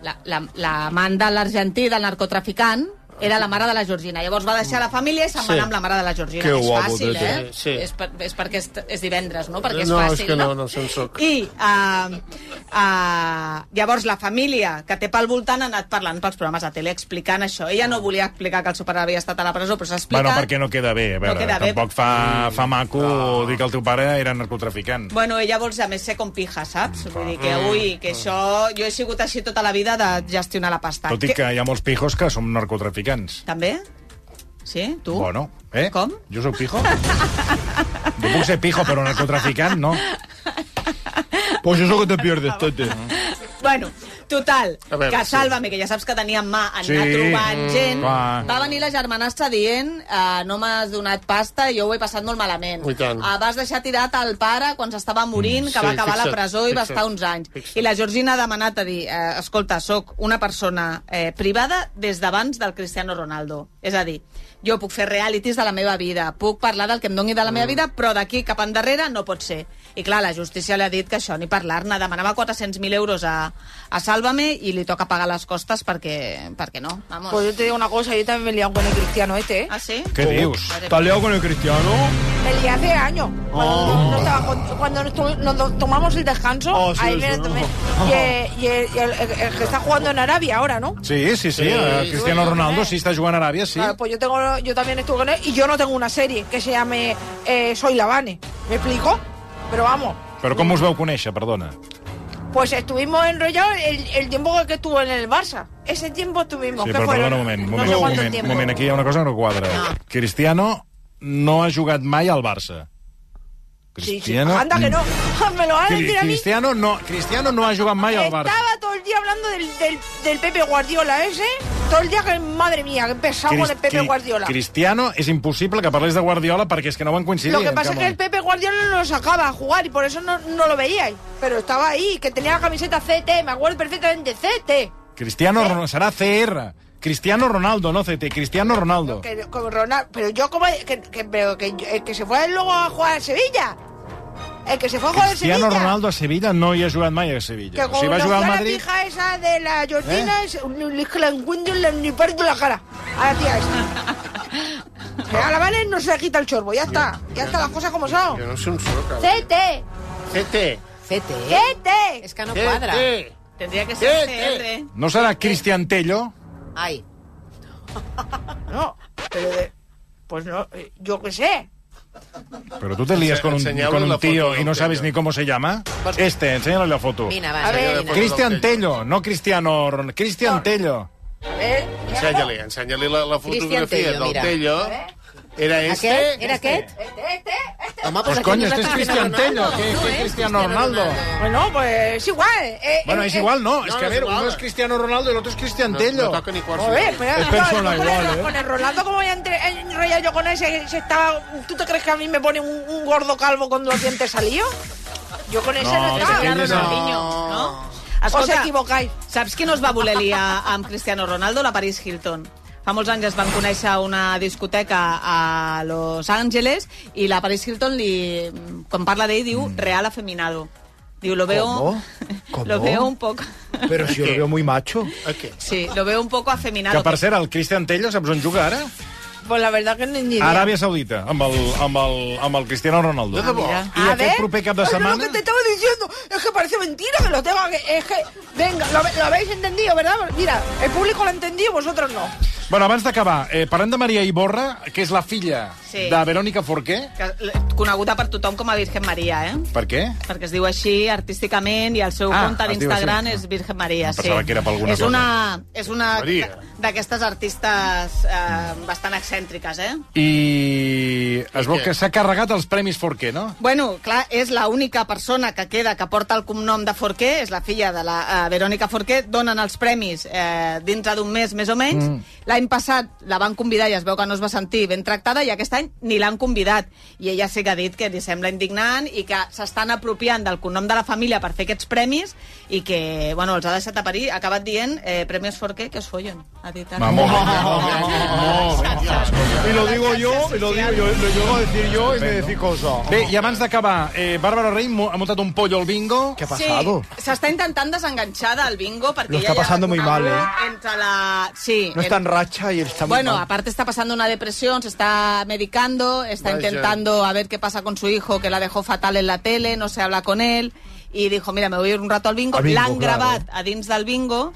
Speaker 4: la- la- l'amant de l'argentí, del narcotraficant, era la mare de la Georgina. Llavors va deixar la família i se'n va
Speaker 3: Sí.
Speaker 4: anar amb la mare de la Georgina.
Speaker 5: Que
Speaker 4: Que és
Speaker 5: guapo,
Speaker 4: fàcil,
Speaker 5: tete.
Speaker 4: eh?
Speaker 3: Sí.
Speaker 4: És, per, és perquè és, és divendres, no? Perquè és
Speaker 3: No, és
Speaker 4: fàcil,
Speaker 3: que no, no, se'n soc.
Speaker 4: I uh, uh, llavors la família que té pel voltant ha anat parlant pels programes de tele explicant això. Ella no volia explicar que el seu pare havia estat a la presó, però s'ha explicat...
Speaker 1: Bueno, perquè no queda bé, a veure,
Speaker 4: No queda bé.
Speaker 1: tampoc fa, fa maco dir que el teu pare era narcotraficant.
Speaker 4: Bueno, ella vol, a més, ser com pija, saps? Vull dir que, ui,
Speaker 3: Mm.
Speaker 4: que això... Jo he sigut així tota la vida de gestionar la pasta.
Speaker 1: Tot i
Speaker 4: Que-
Speaker 1: que hi ha molts pijos que som narcotraficants.
Speaker 4: També? Sí? Tu?
Speaker 1: Bueno, eh?
Speaker 4: Com?
Speaker 1: Jo sóc pijo? jo puc ser pijo, però narcotraficant, no.
Speaker 5: Pues eso que te pierdes, tete.
Speaker 4: Bueno, total,
Speaker 3: A veure,
Speaker 4: que
Speaker 3: sí.
Speaker 4: Sálvame, que ja saps que tenia en mà, anar
Speaker 1: Sí,
Speaker 4: trobant
Speaker 1: mm,
Speaker 4: gent,
Speaker 1: clar.
Speaker 4: va venir la germanastra dient eh, no m'has donat pasta i jo ho he passat molt malament.
Speaker 3: I tant. Mm,
Speaker 4: Eh, vas deixar tirat el pare quan s'estava morint, que
Speaker 3: Sí,
Speaker 4: va acabar a la
Speaker 3: fixa't,
Speaker 4: presó i va
Speaker 3: fixa't,
Speaker 4: estar uns anys.
Speaker 3: fixa't.
Speaker 4: I la Georgina ha demanat a dir, eh, escolta, sóc una persona eh, privada des d'abans del Cristiano Ronaldo. És a dir, jo puc fer realities de la meva vida, puc parlar del que em doni de la
Speaker 3: Mm.
Speaker 4: meva vida, però d'aquí cap endarrere no pot ser. I clar, la justícia li ha dit que això, ni parlar-ne. Demanava 400.000 euros a, a Sálvame i li toca pagar les costes perquè, perquè no. Vamos.
Speaker 6: Pues yo te digo una cosa, yo también me he liado con el cristiano este, ¿eh?
Speaker 4: Ah, sí?
Speaker 1: Què dius?
Speaker 5: ¿Estás liado con el cristiano?
Speaker 6: Me lié hace años. Cuando, no estaba con- cuando nos, tu- nos do- tomamos el descanso,
Speaker 5: Oh, sí,
Speaker 6: ahí me
Speaker 5: sí.
Speaker 6: lo tomé. Y, eh, y el, y el- el- el que está jugando en Arabia ahora, ¿no?
Speaker 1: Sí, sí, sí, eh, Cristiano Ronaldo sí està jugant a Aràbia, sí.
Speaker 6: Claro, pues yo tengo, yo también estuve con él y yo no tengo una serie que se llame eh, Soy Lavane. ¿Me explico? Pero vamos,
Speaker 1: Però com us vau conèixer, perdona?
Speaker 6: pues estuvimos enrollados el, el tiempo que estuvo en el Barça. Ese tiempo estuvimos.
Speaker 1: Sí,
Speaker 6: que
Speaker 1: però
Speaker 6: fueron
Speaker 1: perdona un moment, un moment,
Speaker 6: no sé
Speaker 1: un
Speaker 6: cuánto
Speaker 1: moment, un
Speaker 6: tiempo.
Speaker 1: moment, aquí hi ha una cosa que no quadra. Cristiano no ha jugat mai al Barça.
Speaker 6: Sí, sí.
Speaker 1: Cristiano... Mm.
Speaker 6: Anda que no. Me lo van a
Speaker 1: Cri-
Speaker 6: decir a mí.
Speaker 1: Cristiano no, Cristiano no ha jugat mai al Barça.
Speaker 6: Estaba todo el día hablando del, del, del Pepe Guardiola ese. Todo el día que, madre mía, que empezamos con el
Speaker 1: Cris-
Speaker 6: Pepe
Speaker 1: Cri-
Speaker 6: Guardiola.
Speaker 1: Cristiano és impossible que parlés de Guardiola perquè és que no van coincidir.
Speaker 6: lo que
Speaker 1: en
Speaker 6: pasa es
Speaker 1: cap
Speaker 6: que el
Speaker 1: moment.
Speaker 6: Pepe Guardiola no lo sacaba a jugar y por eso no, no lo veíais. Pero estaba ahí, que tenía la camiseta CT, me acuerdo perfectamente, CT.
Speaker 1: Cristiano Ronaldo serà CR. Cristiano Ronaldo, no CT, Cristiano Ronaldo.
Speaker 6: Que, como Ronaldo, pero yo como... Que, que- pero que, el que se fue luego a jugar a Sevilla. El que se fue a jugar a
Speaker 1: Cristiano
Speaker 6: Sevilla.
Speaker 1: Ronaldo a Sevilla no hi ha jugat mai a
Speaker 6: Que
Speaker 1: Sevilla. O
Speaker 6: con
Speaker 1: sigui, va
Speaker 6: una
Speaker 1: jugar al
Speaker 6: cara
Speaker 1: Madrid... ¿Eh?
Speaker 6: fija esa de la Georgina, es- le- que la encuentro en la- ni parto la cara. A la tía esta. Que a la Vale no se le quita el chorbo, ya está. Ya está las cosas como son.
Speaker 3: Jo no sé un so, cabrón. E
Speaker 6: CT,
Speaker 3: CT.
Speaker 2: Fete, eh?
Speaker 6: CT.
Speaker 2: És que no quadra.
Speaker 3: CT.
Speaker 4: Tendría que
Speaker 3: Eh,
Speaker 4: ser
Speaker 3: eh.
Speaker 4: CR.
Speaker 1: No serà Cristian Tello?
Speaker 2: Ai,
Speaker 6: No, pero de- pues no, eh, yo qué sé.
Speaker 1: Pero tú te lías con un,
Speaker 3: Enseñale
Speaker 1: con
Speaker 3: la
Speaker 1: un
Speaker 3: foto
Speaker 1: tío
Speaker 3: del
Speaker 1: y no
Speaker 3: Tello.
Speaker 1: sabes ni cómo se llama. Este, enséñale la foto.
Speaker 2: vine,
Speaker 6: A
Speaker 2: va.
Speaker 6: ver.
Speaker 2: vine.
Speaker 3: Enseña la foto.
Speaker 1: Cristian
Speaker 3: del
Speaker 1: Tello, no Cristiano Ronaldo. Cristian Tello.
Speaker 6: A ver,
Speaker 3: Ensenya-li, ensenya-li la, la
Speaker 2: Cristian
Speaker 3: fotografia
Speaker 2: Tello,
Speaker 3: del
Speaker 2: mira.
Speaker 3: Tello. Era este.
Speaker 2: Aquest? Era aquest?
Speaker 6: CT.
Speaker 2: Home,
Speaker 1: Pues
Speaker 2: aquí
Speaker 1: coño,
Speaker 2: no
Speaker 1: este es
Speaker 2: està
Speaker 1: Cristian Tello,
Speaker 2: Ronaldo,
Speaker 1: que
Speaker 2: tu,
Speaker 1: que
Speaker 2: eh?
Speaker 1: Cristiano Ronaldo.
Speaker 6: Bueno, pues es igual. eh,
Speaker 1: Bueno,
Speaker 6: eh,
Speaker 1: es
Speaker 6: eh.
Speaker 1: igual, no.
Speaker 3: no,
Speaker 1: Es que a
Speaker 3: no
Speaker 1: ver,
Speaker 3: es igual.
Speaker 1: uno es Cristiano Ronaldo y el otro es Cristian
Speaker 3: No,
Speaker 1: Tello.
Speaker 3: no toca ni quarts.
Speaker 6: Joder, pero
Speaker 1: Es
Speaker 6: no,
Speaker 1: persona
Speaker 6: yo con
Speaker 1: igual,
Speaker 6: el-
Speaker 1: ¿eh?
Speaker 6: Con el Rolando, como voy a entre- a enrollar yo con ese? Se estaba, ¿Tú te crees que a mí me pone un, un gordo calvo con los dientes salidos? Yo con ese no,
Speaker 1: No,
Speaker 6: estaba.
Speaker 1: aquell és el-
Speaker 4: Ronaldinho, no?
Speaker 6: Os
Speaker 4: Escolta,
Speaker 6: equivocáis.
Speaker 4: Saps qui no es va voler liar amb Cristiano Ronaldo? La Paris Hilton. Fa molts anys es van conèixer a una discoteca a Los Angeles i la Paris Hilton, li, quan parla d'ell, diu real afeminado. Diu, lo veo...
Speaker 5: Mm. ¿Cómo? ¿Cómo?
Speaker 4: Lo veo un poco...
Speaker 5: Pero si yo lo veo muy macho.
Speaker 3: Aquest.
Speaker 4: Sí, lo veo un poco afeminado.
Speaker 1: Que, per cert, el Cristian Tello, saps on juga ara?
Speaker 6: Pues la verdad que ni ni idea.
Speaker 1: Aràbia Saudita, amb el, amb el, amb el Cristiano Ronaldo.
Speaker 3: De debò.
Speaker 4: Ah, mira.
Speaker 1: I aquest proper cap de
Speaker 6: es
Speaker 1: setmana...
Speaker 6: ¿eh? Lo que te estaba diciendo es que parece mentira que lo tengo que... Es que, venga, lo, lo habéis entendido, ¿verdad? Mira, el público lo ha entendido, vosotros no.
Speaker 1: Bueno, abans d'acabar, eh, parlem de Maria Iborra, que és la filla
Speaker 4: Sí.
Speaker 1: de Verònica Forqué.
Speaker 4: Que- eh, Coneguda per tothom com a Virgen Maria, eh?
Speaker 1: Per què?
Speaker 4: perquè es diu així artísticament i el seu
Speaker 1: Ah,
Speaker 4: ah, compte
Speaker 1: es diu
Speaker 4: d'Instagram
Speaker 1: així.
Speaker 4: és Virgen Maria.
Speaker 1: Em pensava que era per alguna
Speaker 4: és
Speaker 1: cosa.
Speaker 4: una, és una
Speaker 3: Maria.
Speaker 4: d'aquestes artistes eh, bastant excèntriques, eh?
Speaker 1: I es veu
Speaker 3: què?
Speaker 1: que s'ha carregat els premis Forqué, no?
Speaker 4: Bueno, clar, és la única persona que queda que porta el cognom de Forqué, és la filla de la eh, Verònica Forqué, donen els premis eh, dintre d'un mes, més o menys. Mm. L'any passat la van convidar i es veu que no es va sentir ben tractada i aquest any ni l'han convidat. I ella sí que ha dit que li sembla indignant i que s'estan apropiant del cognom de la família per fer aquests premis i que, bueno, els ha deixat a parir, ha acabat dient eh, premis Forqué que us follen. Ha dit ara.
Speaker 1: Vamos.
Speaker 5: Y lo digo yo, y lo digo yo, lo llego a decir yo y me decís cosas.
Speaker 1: Bé, i abans d'acabar, eh, Bàrbara Rey mo- ha muntat un pollo al bingo.
Speaker 5: ¿Qué ha pasado?
Speaker 4: Sí, s'està intentant desenganxar del bingo perquè
Speaker 5: Lo
Speaker 4: ja
Speaker 5: está
Speaker 4: hi ha
Speaker 5: pasando muy mal, ¿eh?
Speaker 4: una- Entre la... Sí.
Speaker 5: No
Speaker 4: en-
Speaker 5: está en racha y está muy
Speaker 4: Bueno,
Speaker 5: mal.
Speaker 4: aparte está pasando una depresión, se está medicando, está
Speaker 3: Vaya.
Speaker 4: intentando a ver qué pasa con su hijo, que la dejó fatal en la tele, no se habla con él, y dijo, mira, me voy a ir un rato al bingo.
Speaker 5: Al bingo,
Speaker 4: L'han
Speaker 5: claro.
Speaker 4: gravat a dins del bingo,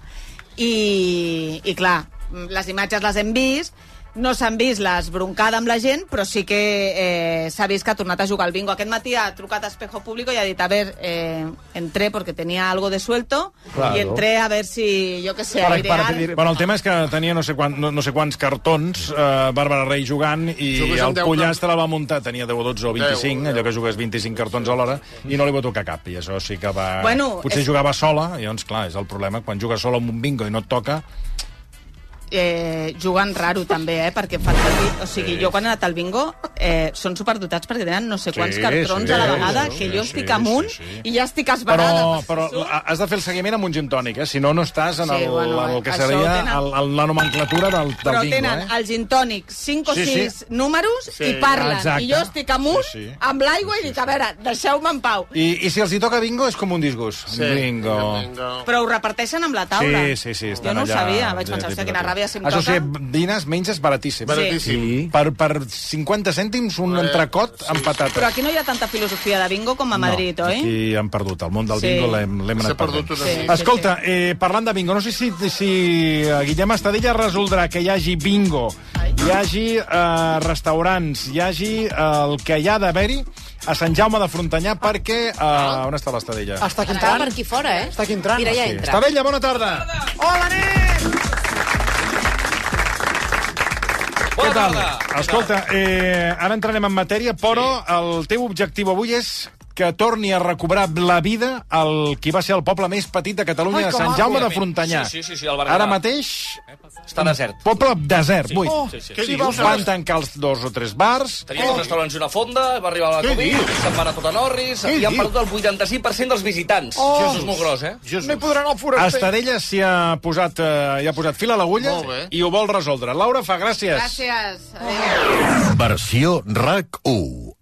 Speaker 4: i, i clar, les imatges les hem vist, no s'han vist les broncada amb la gent, però sí que eh, s'ha vist que ha tornat a jugar al bingo. Aquest matí ha trucat a Espejo Público i ha dit, a ver, eh, entré porque tenía algo de suelto,
Speaker 5: Claro.
Speaker 4: y entré a ver si, yo qué sé,
Speaker 5: Para-
Speaker 4: airear...
Speaker 5: para pedir-
Speaker 1: Bueno, el tema és que tenia no sé, quant, no, no sé quants cartons eh, Bàrbara Rey jugant i
Speaker 3: Jugues amb
Speaker 1: el
Speaker 3: deu
Speaker 1: pollastre la va muntar, tenia 10 o 12 o 25,
Speaker 3: Deu,
Speaker 1: allò que jugues 25 cartons a l'hora, i no li va tocar cap, i això sí que va...
Speaker 4: Bueno,
Speaker 1: Potser
Speaker 4: és-
Speaker 1: jugava sola, i llavors, clar, és el problema, quan jugues sola amb un bingo i no et toca...
Speaker 4: eh, juguen raro també, eh, perquè fan servir... O sigui, jo quan he anat al bingo eh, són superdotats perquè tenen no sé quants
Speaker 1: Sí,
Speaker 4: cartrons
Speaker 1: sí,
Speaker 4: a la vegada,
Speaker 1: sí,
Speaker 4: que
Speaker 1: sí,
Speaker 4: jo
Speaker 1: sí,
Speaker 4: estic
Speaker 1: sí,
Speaker 4: amunt
Speaker 1: sí, sí.
Speaker 4: i ja estic esbarada.
Speaker 1: Però, però has de fer el seguiment amb un gin tònic, eh? Si no, no estàs en
Speaker 4: Sí,
Speaker 1: el,
Speaker 4: bueno,
Speaker 1: en el que
Speaker 4: això
Speaker 1: seria
Speaker 4: tenen-
Speaker 1: el, el, la nomenclatura del, del
Speaker 4: però
Speaker 1: bingo,
Speaker 4: tenen
Speaker 1: eh?
Speaker 4: el gin tònic 5 o
Speaker 1: Sí,
Speaker 4: 6
Speaker 1: sí.
Speaker 4: números
Speaker 3: Sí,
Speaker 4: i parlen.
Speaker 1: exacte.
Speaker 4: I jo estic amunt
Speaker 1: Sí, sí.
Speaker 4: amb l'aigua i dic, a veure, deixeu-me en pau.
Speaker 1: I, I si els hi toca bingo és com un disgust. bingo.
Speaker 3: bingo.
Speaker 4: Però ho reparteixen amb la taula.
Speaker 1: Sí, sí, sí.
Speaker 4: Jo
Speaker 1: estan
Speaker 4: no
Speaker 1: allà,
Speaker 4: ho sabia, vaig
Speaker 1: de-
Speaker 4: pensar,
Speaker 1: de-
Speaker 4: hòstia, quina ràbia si em
Speaker 1: Això sí,
Speaker 4: toca.
Speaker 1: dines, menges baratíssim.
Speaker 3: Baratíssim.
Speaker 5: Sí.
Speaker 1: Per, per 50 cèntims un
Speaker 3: Eh,
Speaker 1: entrecot amb
Speaker 3: sí.
Speaker 1: patates.
Speaker 4: Però aquí no hi ha tanta filosofia de bingo com a Madrid,
Speaker 1: no,
Speaker 4: oi?
Speaker 1: Aquí han perdut. El món del
Speaker 4: Sí.
Speaker 1: bingo l'hem l'hem
Speaker 3: S'ha
Speaker 1: anat perdent.
Speaker 3: perdut una sí.
Speaker 4: Sí.
Speaker 1: Escolta, eh, parlant de bingo, no sé si, si eh, Guillem Estadella resoldrà que hi hagi bingo, hi hagi eh, restaurants, hi hagi eh, el que hi ha d'haver-hi a Sant Jaume de Frontanyà perquè... Eh, on està l'Estadella?
Speaker 5: Hasta que
Speaker 2: Estava
Speaker 5: entran.
Speaker 2: per aquí fora, eh?
Speaker 5: Està aquí entrant.
Speaker 2: Mira, ja
Speaker 5: Sí,
Speaker 2: entra.
Speaker 1: Estadella, bona tarda!
Speaker 6: ¡Hola, Nel!
Speaker 1: Què tal? Escolta, eh, ara entrarem en matèria, però el teu objectiu avui és que torni a recobrar la vida al qui va ser el poble més petit de Catalunya, de Sant Jaume de Frontanyà.
Speaker 6: Sí, sí, sí, sí, el Berguedà.
Speaker 1: Ara mateix...
Speaker 6: Està desert.
Speaker 1: Poble desert, buit.
Speaker 6: Oh, sí, sí.
Speaker 1: Què
Speaker 6: Sí,
Speaker 1: dius? Van tancar els dos o tres bars.
Speaker 6: Tenien uns restaurants i una fonda, va arribar la
Speaker 1: Què
Speaker 6: Covid,
Speaker 1: dius?
Speaker 6: se'n van a tot a Norris,
Speaker 1: Què
Speaker 6: i han
Speaker 1: dius?
Speaker 6: perdut el 85% dels visitants.
Speaker 1: Oh.
Speaker 6: Això és molt gros, eh?
Speaker 1: Me podran al forat. Estadella s'hi ha, posat, eh, hi ha posat fil a l'agulla
Speaker 6: Molt bé.
Speaker 1: i ho vol resoldre. Laura, fa gràcies.
Speaker 10: Gràcies. Adéu.
Speaker 11: Versió RAC 1